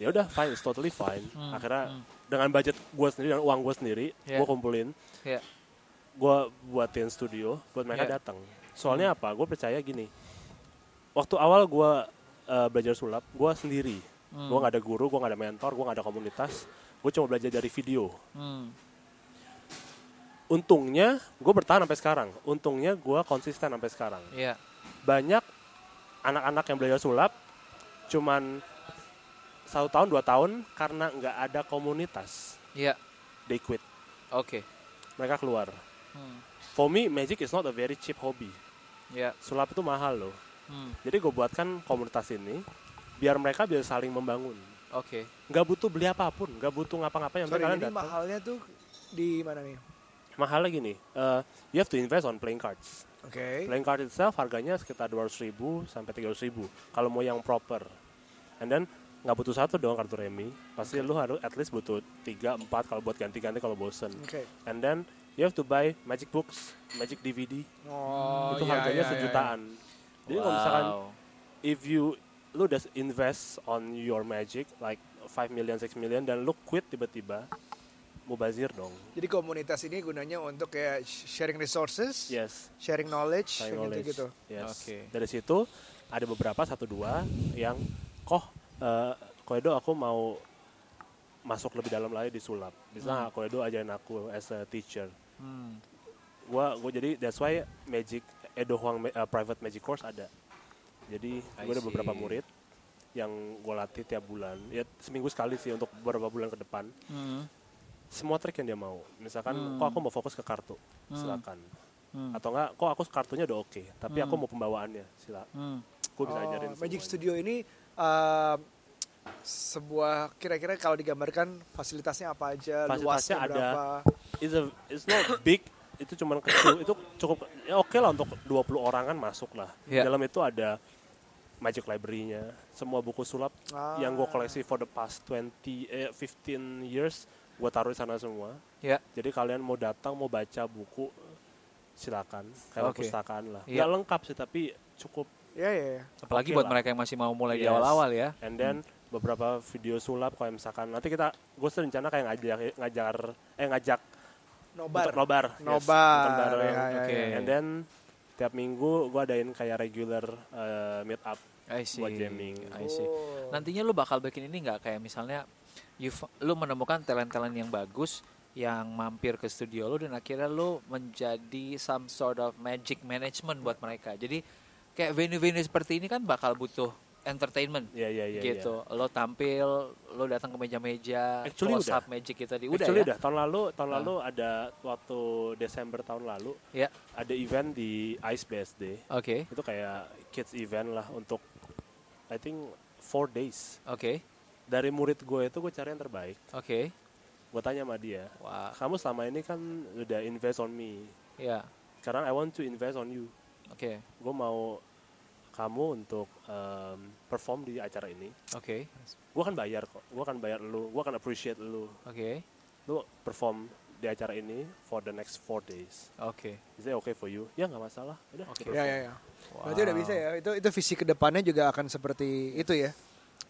S3: ya udah fine it's totally fine
S2: Hmm,
S3: akhirnya dengan budget gue sendiri dan uang gue sendiri
S2: Iya.
S3: gue kumpulin
S2: Ya.
S3: gue buatin studio buat mereka
S2: Yeah.
S3: datang. Soalnya apa? Gue percaya gini. Waktu awal gue belajar sulap, gue sendiri.
S2: Hmm.
S3: Gue nggak ada guru, gue nggak ada mentor, gue nggak ada komunitas. Gue cuma belajar dari video.
S2: Hmm.
S3: Untungnya gue bertahan sampai sekarang. Untungnya gue konsisten sampai sekarang.
S2: Ya.
S3: Banyak anak-anak yang belajar sulap cuman satu tahun dua tahun karena nggak ada komunitas,
S2: Ya.
S3: they quit.
S2: Oke.
S3: Mereka keluar.
S2: Hmm.
S3: For me, magic is not a very cheap hobby.
S2: Ya.
S3: Sulap itu mahal loh.
S2: Hmm.
S3: Jadi gue buatkan komunitas ini biar mereka bisa saling membangun.
S2: Oke.
S3: Nggak butuh beli apapun, nggak butuh ngapa-ngapain. Yang penting
S1: Sorry,
S3: kalian
S1: ini
S3: datang.
S1: mahalnya tuh di mana nih?
S3: Mahal lagi nih. eh, you have to invest on playing cards.
S1: Oke.
S3: Playing card itself harganya sekitar 200.000 sampai 300.000 kalau mau yang proper. And then nggak butuh satu doang kartu remi. Pasti lu harus at least butuh 3 4 kalau buat ganti-ganti kalau bosen.
S1: Oke.
S3: And then you have to buy magic books, magic DVD.
S1: Oh,
S3: itu
S1: iya,
S3: harganya
S1: iya, iya.
S3: sejutaan. Jadi kalau misalkan
S2: Wow.
S3: if you lu udah invest on your magic like 5 million 6 million dan lu quit tiba-tiba mubazir dong
S1: Jadi komunitas ini gunanya untuk kayak sh- sharing resources,
S3: yes
S1: sharing knowledge,
S3: Iya. sharing
S1: kayak
S3: knowledge
S1: gitu-gitu.
S3: yes
S2: Oke.
S3: dari situ ada beberapa satu dua yang koh eh, koedo aku mau masuk lebih dalam lagi di sulap bisa nggak koedo ajarin aku as a teacher
S2: Hmm.
S3: gua gua jadi that's why magic Edo Huang eh, private magic course ada jadi
S2: I
S3: gua ada beberapa
S2: see.
S3: murid yang gua latih tiap bulan ya seminggu sekali sih untuk beberapa bulan ke depan
S2: Hmm.
S3: semua trik yang dia mau misalkan
S2: Hmm.
S3: kok aku mau fokus ke kartu silakan
S2: Hmm.
S3: atau enggak kok aku kartunya udah oke tapi aku mau pembawaannya sila
S2: Hmm.
S3: gue bisa ajarin
S1: Oh, Magic
S3: semuanya.
S1: Studio ini eh, sebuah kira-kira kalau digambarkan fasilitasnya apa aja,
S3: Fasilitasnya
S1: luasnya
S3: ada.
S1: berapa?
S3: it's a, it's not big itu cuman kecil itu cukup ya oke lah untuk 20 orang kan masuk lah
S2: Iya.
S3: dalam itu ada magic library-nya semua buku sulap
S1: Ah.
S3: yang gue koleksi for the past 20 eh, 15 years gue taruh di sana semua
S2: Ya.
S3: jadi kalian mau datang mau baca buku silakan kayak
S2: Oke.
S3: perpustakaan lah
S2: Iya.
S3: nggak lengkap sih tapi cukup
S1: Ya ya. ya.
S2: Apalagi
S3: Oke
S2: buat
S3: lah.
S2: mereka yang masih mau mulai di
S3: Yes.
S2: awal-awal ya.
S3: and then beberapa video sulap kayak misalkan nanti kita gue rencana kayak ngajak ngajar eh ngajak
S1: Nobar.
S3: Untuk nobar. yes.
S1: Nobar,
S3: Nonton bareng.
S1: ya, ya,
S2: Oke. ya.
S3: And then tiap minggu gue adain kayak regular uh, meet up.
S2: I see.
S3: Buat jamming.
S2: I see.
S1: Oh.
S3: Nah,
S2: Nantinya lu bakal bikin ini nggak kayak misalnya you've- lu menemukan talent-talent yang bagus yang mampir ke studio lu dan akhirnya lu menjadi some sort of magic management buat mereka. Jadi kayak venue-venue seperti ini kan bakal butuh entertainment.
S3: Iya iya iya.
S2: gitu. Lo tampil, lo datang ke meja-meja,
S3: Actually
S2: close
S3: udah.
S2: up magic kita di
S3: Iya.
S2: udah
S3: Actually
S2: ya.
S3: udah tahun lalu tahun
S2: Ah.
S3: lalu ada waktu Desember tahun lalu
S2: Ya,
S3: ada event di Ice BSD.
S2: oke.
S3: Itu kayak kids event lah untuk I think four days.
S2: Oke.
S3: Dari murid gue itu gue cari yang terbaik.
S2: Oke.
S3: Gue tanya sama dia,
S2: Wah,
S3: "Ah, kamu selama ini kan udah invest on me.
S2: ya.
S3: Sekarang I want to invest on you.
S2: Oke.
S3: Gue mau kamu untuk um, perform di acara ini.
S2: Oke.
S3: gue kan bayar kok gue kan bayar lu gue kan appreciate lu
S2: Oke.
S3: lu perform di acara ini for the next four days
S2: Oke.
S3: is it okay for you ya nggak masalah udah
S2: Oke.
S1: Ya ya ya. Berarti udah
S2: Wow.
S1: bisa ya. Itu itu visi kedepannya juga akan seperti itu ya.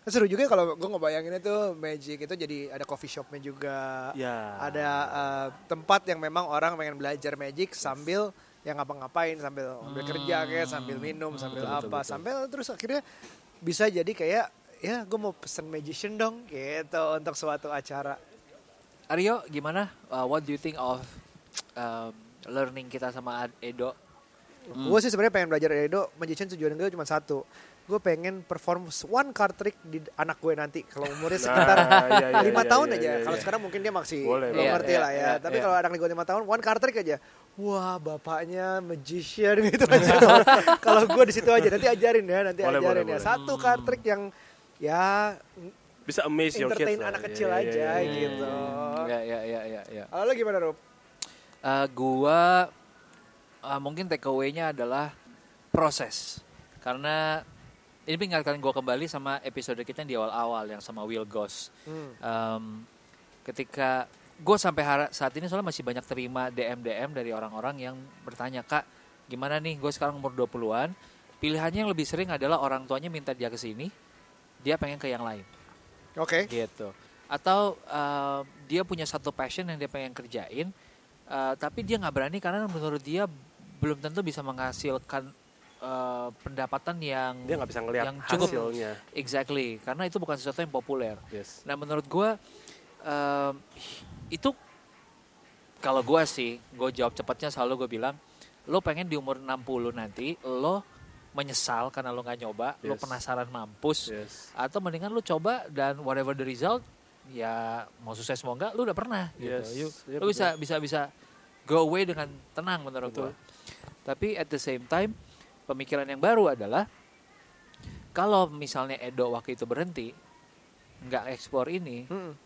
S1: Seru juga kalau gue ngebayanginnya tuh Magic itu jadi ada coffee shopnya juga.
S3: ya
S1: Ada eh, tempat yang memang orang pengen belajar Magic sambil yang ngapa-ngapain sambil sambil kerja kayak sambil minum sambil
S3: Hmm. betul,
S1: apa
S3: betul.
S1: sambil terus akhirnya bisa jadi kayak ya gue mau pesen magician dong gitu untuk suatu acara
S2: Aryo, gimana? Uh, what do you think of um, learning kita sama Ad- Edo?
S3: Hmm.
S1: Gue sih sebenarnya pengen belajar dari Edo, magician tujuan gue cuma satu. Gue pengen perform one card trick di anak gue nanti. Kalau umurnya sekitar
S3: iya, iya,
S1: lima
S3: iya,
S1: tahun
S3: iya,
S1: aja.
S3: iya,
S1: kalau
S3: iya.
S1: sekarang mungkin dia masih
S3: Boleh,
S1: belum
S2: boleh.
S1: ngerti
S2: Iya,
S1: lah ya.
S2: iya,
S1: Tapi
S2: iya.
S1: kalau anak gue lima tahun, one card trick aja. Wah bapaknya magician gitu aja. kalau gue di situ aja nanti ajarin ya, nanti
S3: Boleh,
S1: ajarin
S3: boleh, Hmm.
S1: ya.
S3: boleh.
S1: Satu card trick yang ya
S3: bisa amaze your kids
S1: entertain
S3: lah.
S1: anak
S3: Iya,
S1: kecil
S3: iya,
S1: aja
S3: iya, iya.
S1: gitu.
S2: Ya, ya, ya, ya, ya.
S1: Kalau lo gimana Rup?
S2: Uh, gua uh, mungkin takeaway-nya adalah proses. Karena ini mengingatkan gua kembali sama episode kita yang di awal-awal yang sama Will Goss.
S1: Hmm.
S2: Um, ketika gue sampai hara- saat ini soalnya masih banyak terima DM DM dari orang-orang yang bertanya kak gimana nih gue sekarang umur 20-an pilihannya yang lebih sering adalah orang tuanya minta dia ke sini dia pengen ke yang lain
S1: Oke.
S2: gitu atau uh, dia punya satu passion yang dia pengen kerjain uh, tapi dia nggak berani karena menurut dia belum tentu bisa menghasilkan uh, pendapatan yang
S3: dia nggak bisa ngelihat
S2: Yang cukup.
S3: hasilnya
S2: exactly karena itu bukan sesuatu yang populer
S3: yes
S2: Nah menurut gue em, itu kalau gue sih gue jawab cepatnya selalu gue bilang lo pengen di umur 60 nanti lo menyesal karena lo nggak nyoba, lo
S3: Yes.
S2: penasaran mampus,
S3: yes
S2: atau mendingan lo coba dan whatever the result ya mau sukses mau enggak lo udah pernah
S3: Yes.
S2: gitu. You-
S3: Iya,
S2: lo bisa bisa bisa go away dengan tenang menurut
S3: Betul.
S2: gue. Tapi at the same time pemikiran yang baru adalah kalau misalnya Edo waktu itu berhenti nggak eksplor ini,
S1: Hmm.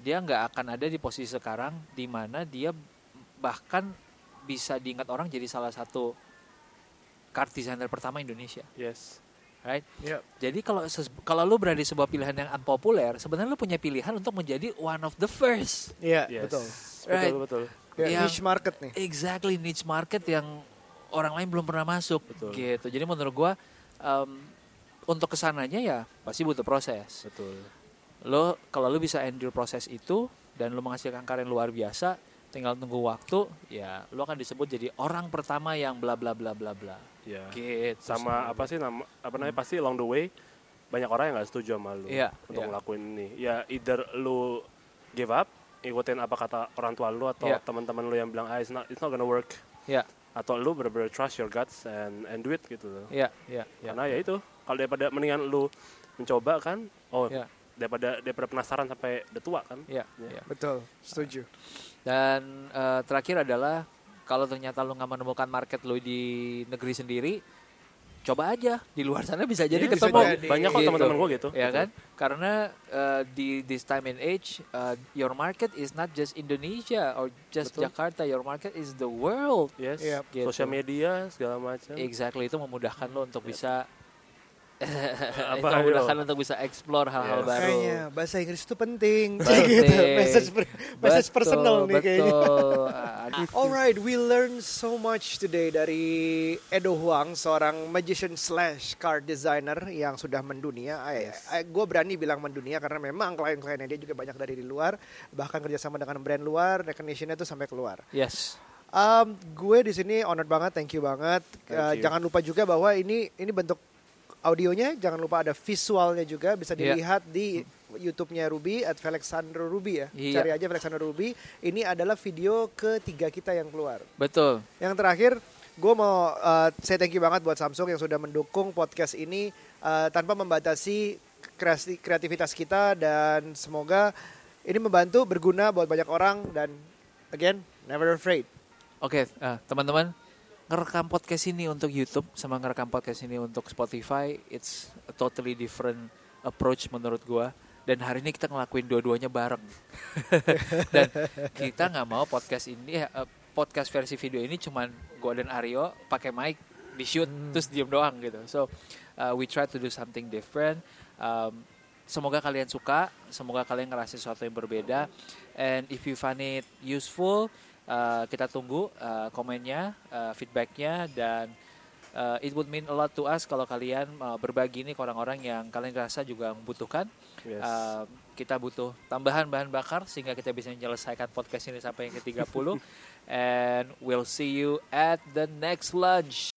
S2: dia nggak akan ada di posisi sekarang di mana dia bahkan bisa diingat orang jadi salah satu card designer pertama Indonesia,
S3: yes
S2: right?
S1: Iya.
S2: Jadi kalau ses- kalau lu berada di sebuah pilihan yang unpopular, sebenarnya lu punya pilihan untuk menjadi one of the first.
S1: Iya,
S3: yes
S1: betul.
S2: Right.
S3: betul betul
S1: Ya,
S2: Yang-
S1: niche market nih.
S2: Exactly niche market yang orang lain belum pernah masuk
S3: Betul.
S2: gitu. Jadi menurut gua em, untuk kesananya ya pasti butuh proses.
S3: betul
S2: lo kalau lo bisa endure proses itu dan lo menghasilkan karya yang luar biasa tinggal tunggu waktu ya lo akan disebut jadi orang pertama yang bla bla bla bla bla
S3: ya
S2: gitu
S3: sama apa sih nama apa namanya pasti along the way banyak orang yang nggak setuju sama lu
S2: Iya,
S3: untuk
S2: iya.
S3: ngelakuin ini ya either lu give up ikutin apa kata orang tua lu atau
S2: Iya.
S3: teman-teman lu yang bilang ah it's not it's not gonna work
S2: ya
S3: atau lu bener-bener trust your guts and and do it gitu loh
S2: ya ya ya
S3: karena ya itu kalau daripada mendingan lu mencoba kan oh
S2: ya
S3: daripada daripada penasaran sampai udah tua kan
S2: ya,
S3: Ya.
S2: ya.
S1: Betul, setuju.
S2: dan eh, terakhir adalah kalau ternyata lo nggak menemukan market lo di negeri sendiri coba aja di luar sana bisa
S1: Iya,
S2: jadi
S1: bisa
S2: ketemu
S1: jadi.
S3: Banyak kok
S2: Gitu.
S3: teman-teman gue gitu.
S2: ya
S3: Betul.
S2: kan karena uh, di this time and age uh, your market is not just Indonesia or just
S3: Betul.
S2: Jakarta your market is the world
S3: Yes.
S1: Yep.
S2: Gitu. Iya,
S3: Sosial media segala macam.
S2: exactly itu memudahkan lo untuk bisa
S3: Iya. Apa Iya.
S2: itu
S3: ayo?
S2: memudahkan lo untuk bisa explore hal-hal
S3: Yes.
S2: baru
S1: Kayaknya bahasa Inggris itu penting.
S2: Penting.
S1: gitu. Message, per- message
S2: Betul,
S1: personal nih kayaknya.
S2: betul. Ah, aduh.
S1: Alright, we learn so much today dari Edo Huang, seorang magician slash card designer yang sudah mendunia. Gue berani bilang mendunia karena memang klien-kliennya dia juga banyak dari di luar, bahkan kerjasama dengan brand luar, recognition-nya tuh sampai keluar.
S2: yes
S1: Um, gue di sini honored banget, thank you banget.
S3: Thank
S1: Uh,
S3: you.
S1: Jangan lupa juga bahwa ini ini bentuk audionya, jangan lupa ada visualnya juga bisa
S2: Iya.
S1: dilihat di YouTube-nya Ruby at Alexandro Ruby ya.
S2: Iya.
S1: Cari aja Alexandro Ruby. Ini adalah video ketiga kita yang keluar.
S2: betul
S1: Yang terakhir, gue mau uh, say thank you banget buat Samsung yang sudah mendukung podcast ini uh, tanpa membatasi kreasi- kreativitas kita dan semoga ini membantu berguna buat banyak orang dan again never afraid.
S2: Oke, eh, teman-teman, ngerekam podcast ini untuk YouTube sama ngerekam podcast ini untuk Spotify, it's a totally different approach menurut gua. Dan hari ini kita ngelakuin dua-duanya bareng. Dan kita nggak mau podcast ini, eh, podcast versi video ini cuman gua dan Aryo pakai mic di shoot terus diem doang gitu. So uh, we try to do something different. Um, semoga kalian suka, semoga kalian ngerasa sesuatu yang berbeda. And if you find it useful, Uh, kita tunggu uh, komennya, uh, feedbacknya, dan uh, it would mean a lot to us kalau kalian uh, berbagi ini ke orang-orang yang kalian rasa juga membutuhkan.
S3: Yes.
S2: Uh, kita butuh tambahan bahan bakar sehingga kita bisa menyelesaikan podcast ini sampai yang ke-30. And we'll see you at the next lunch.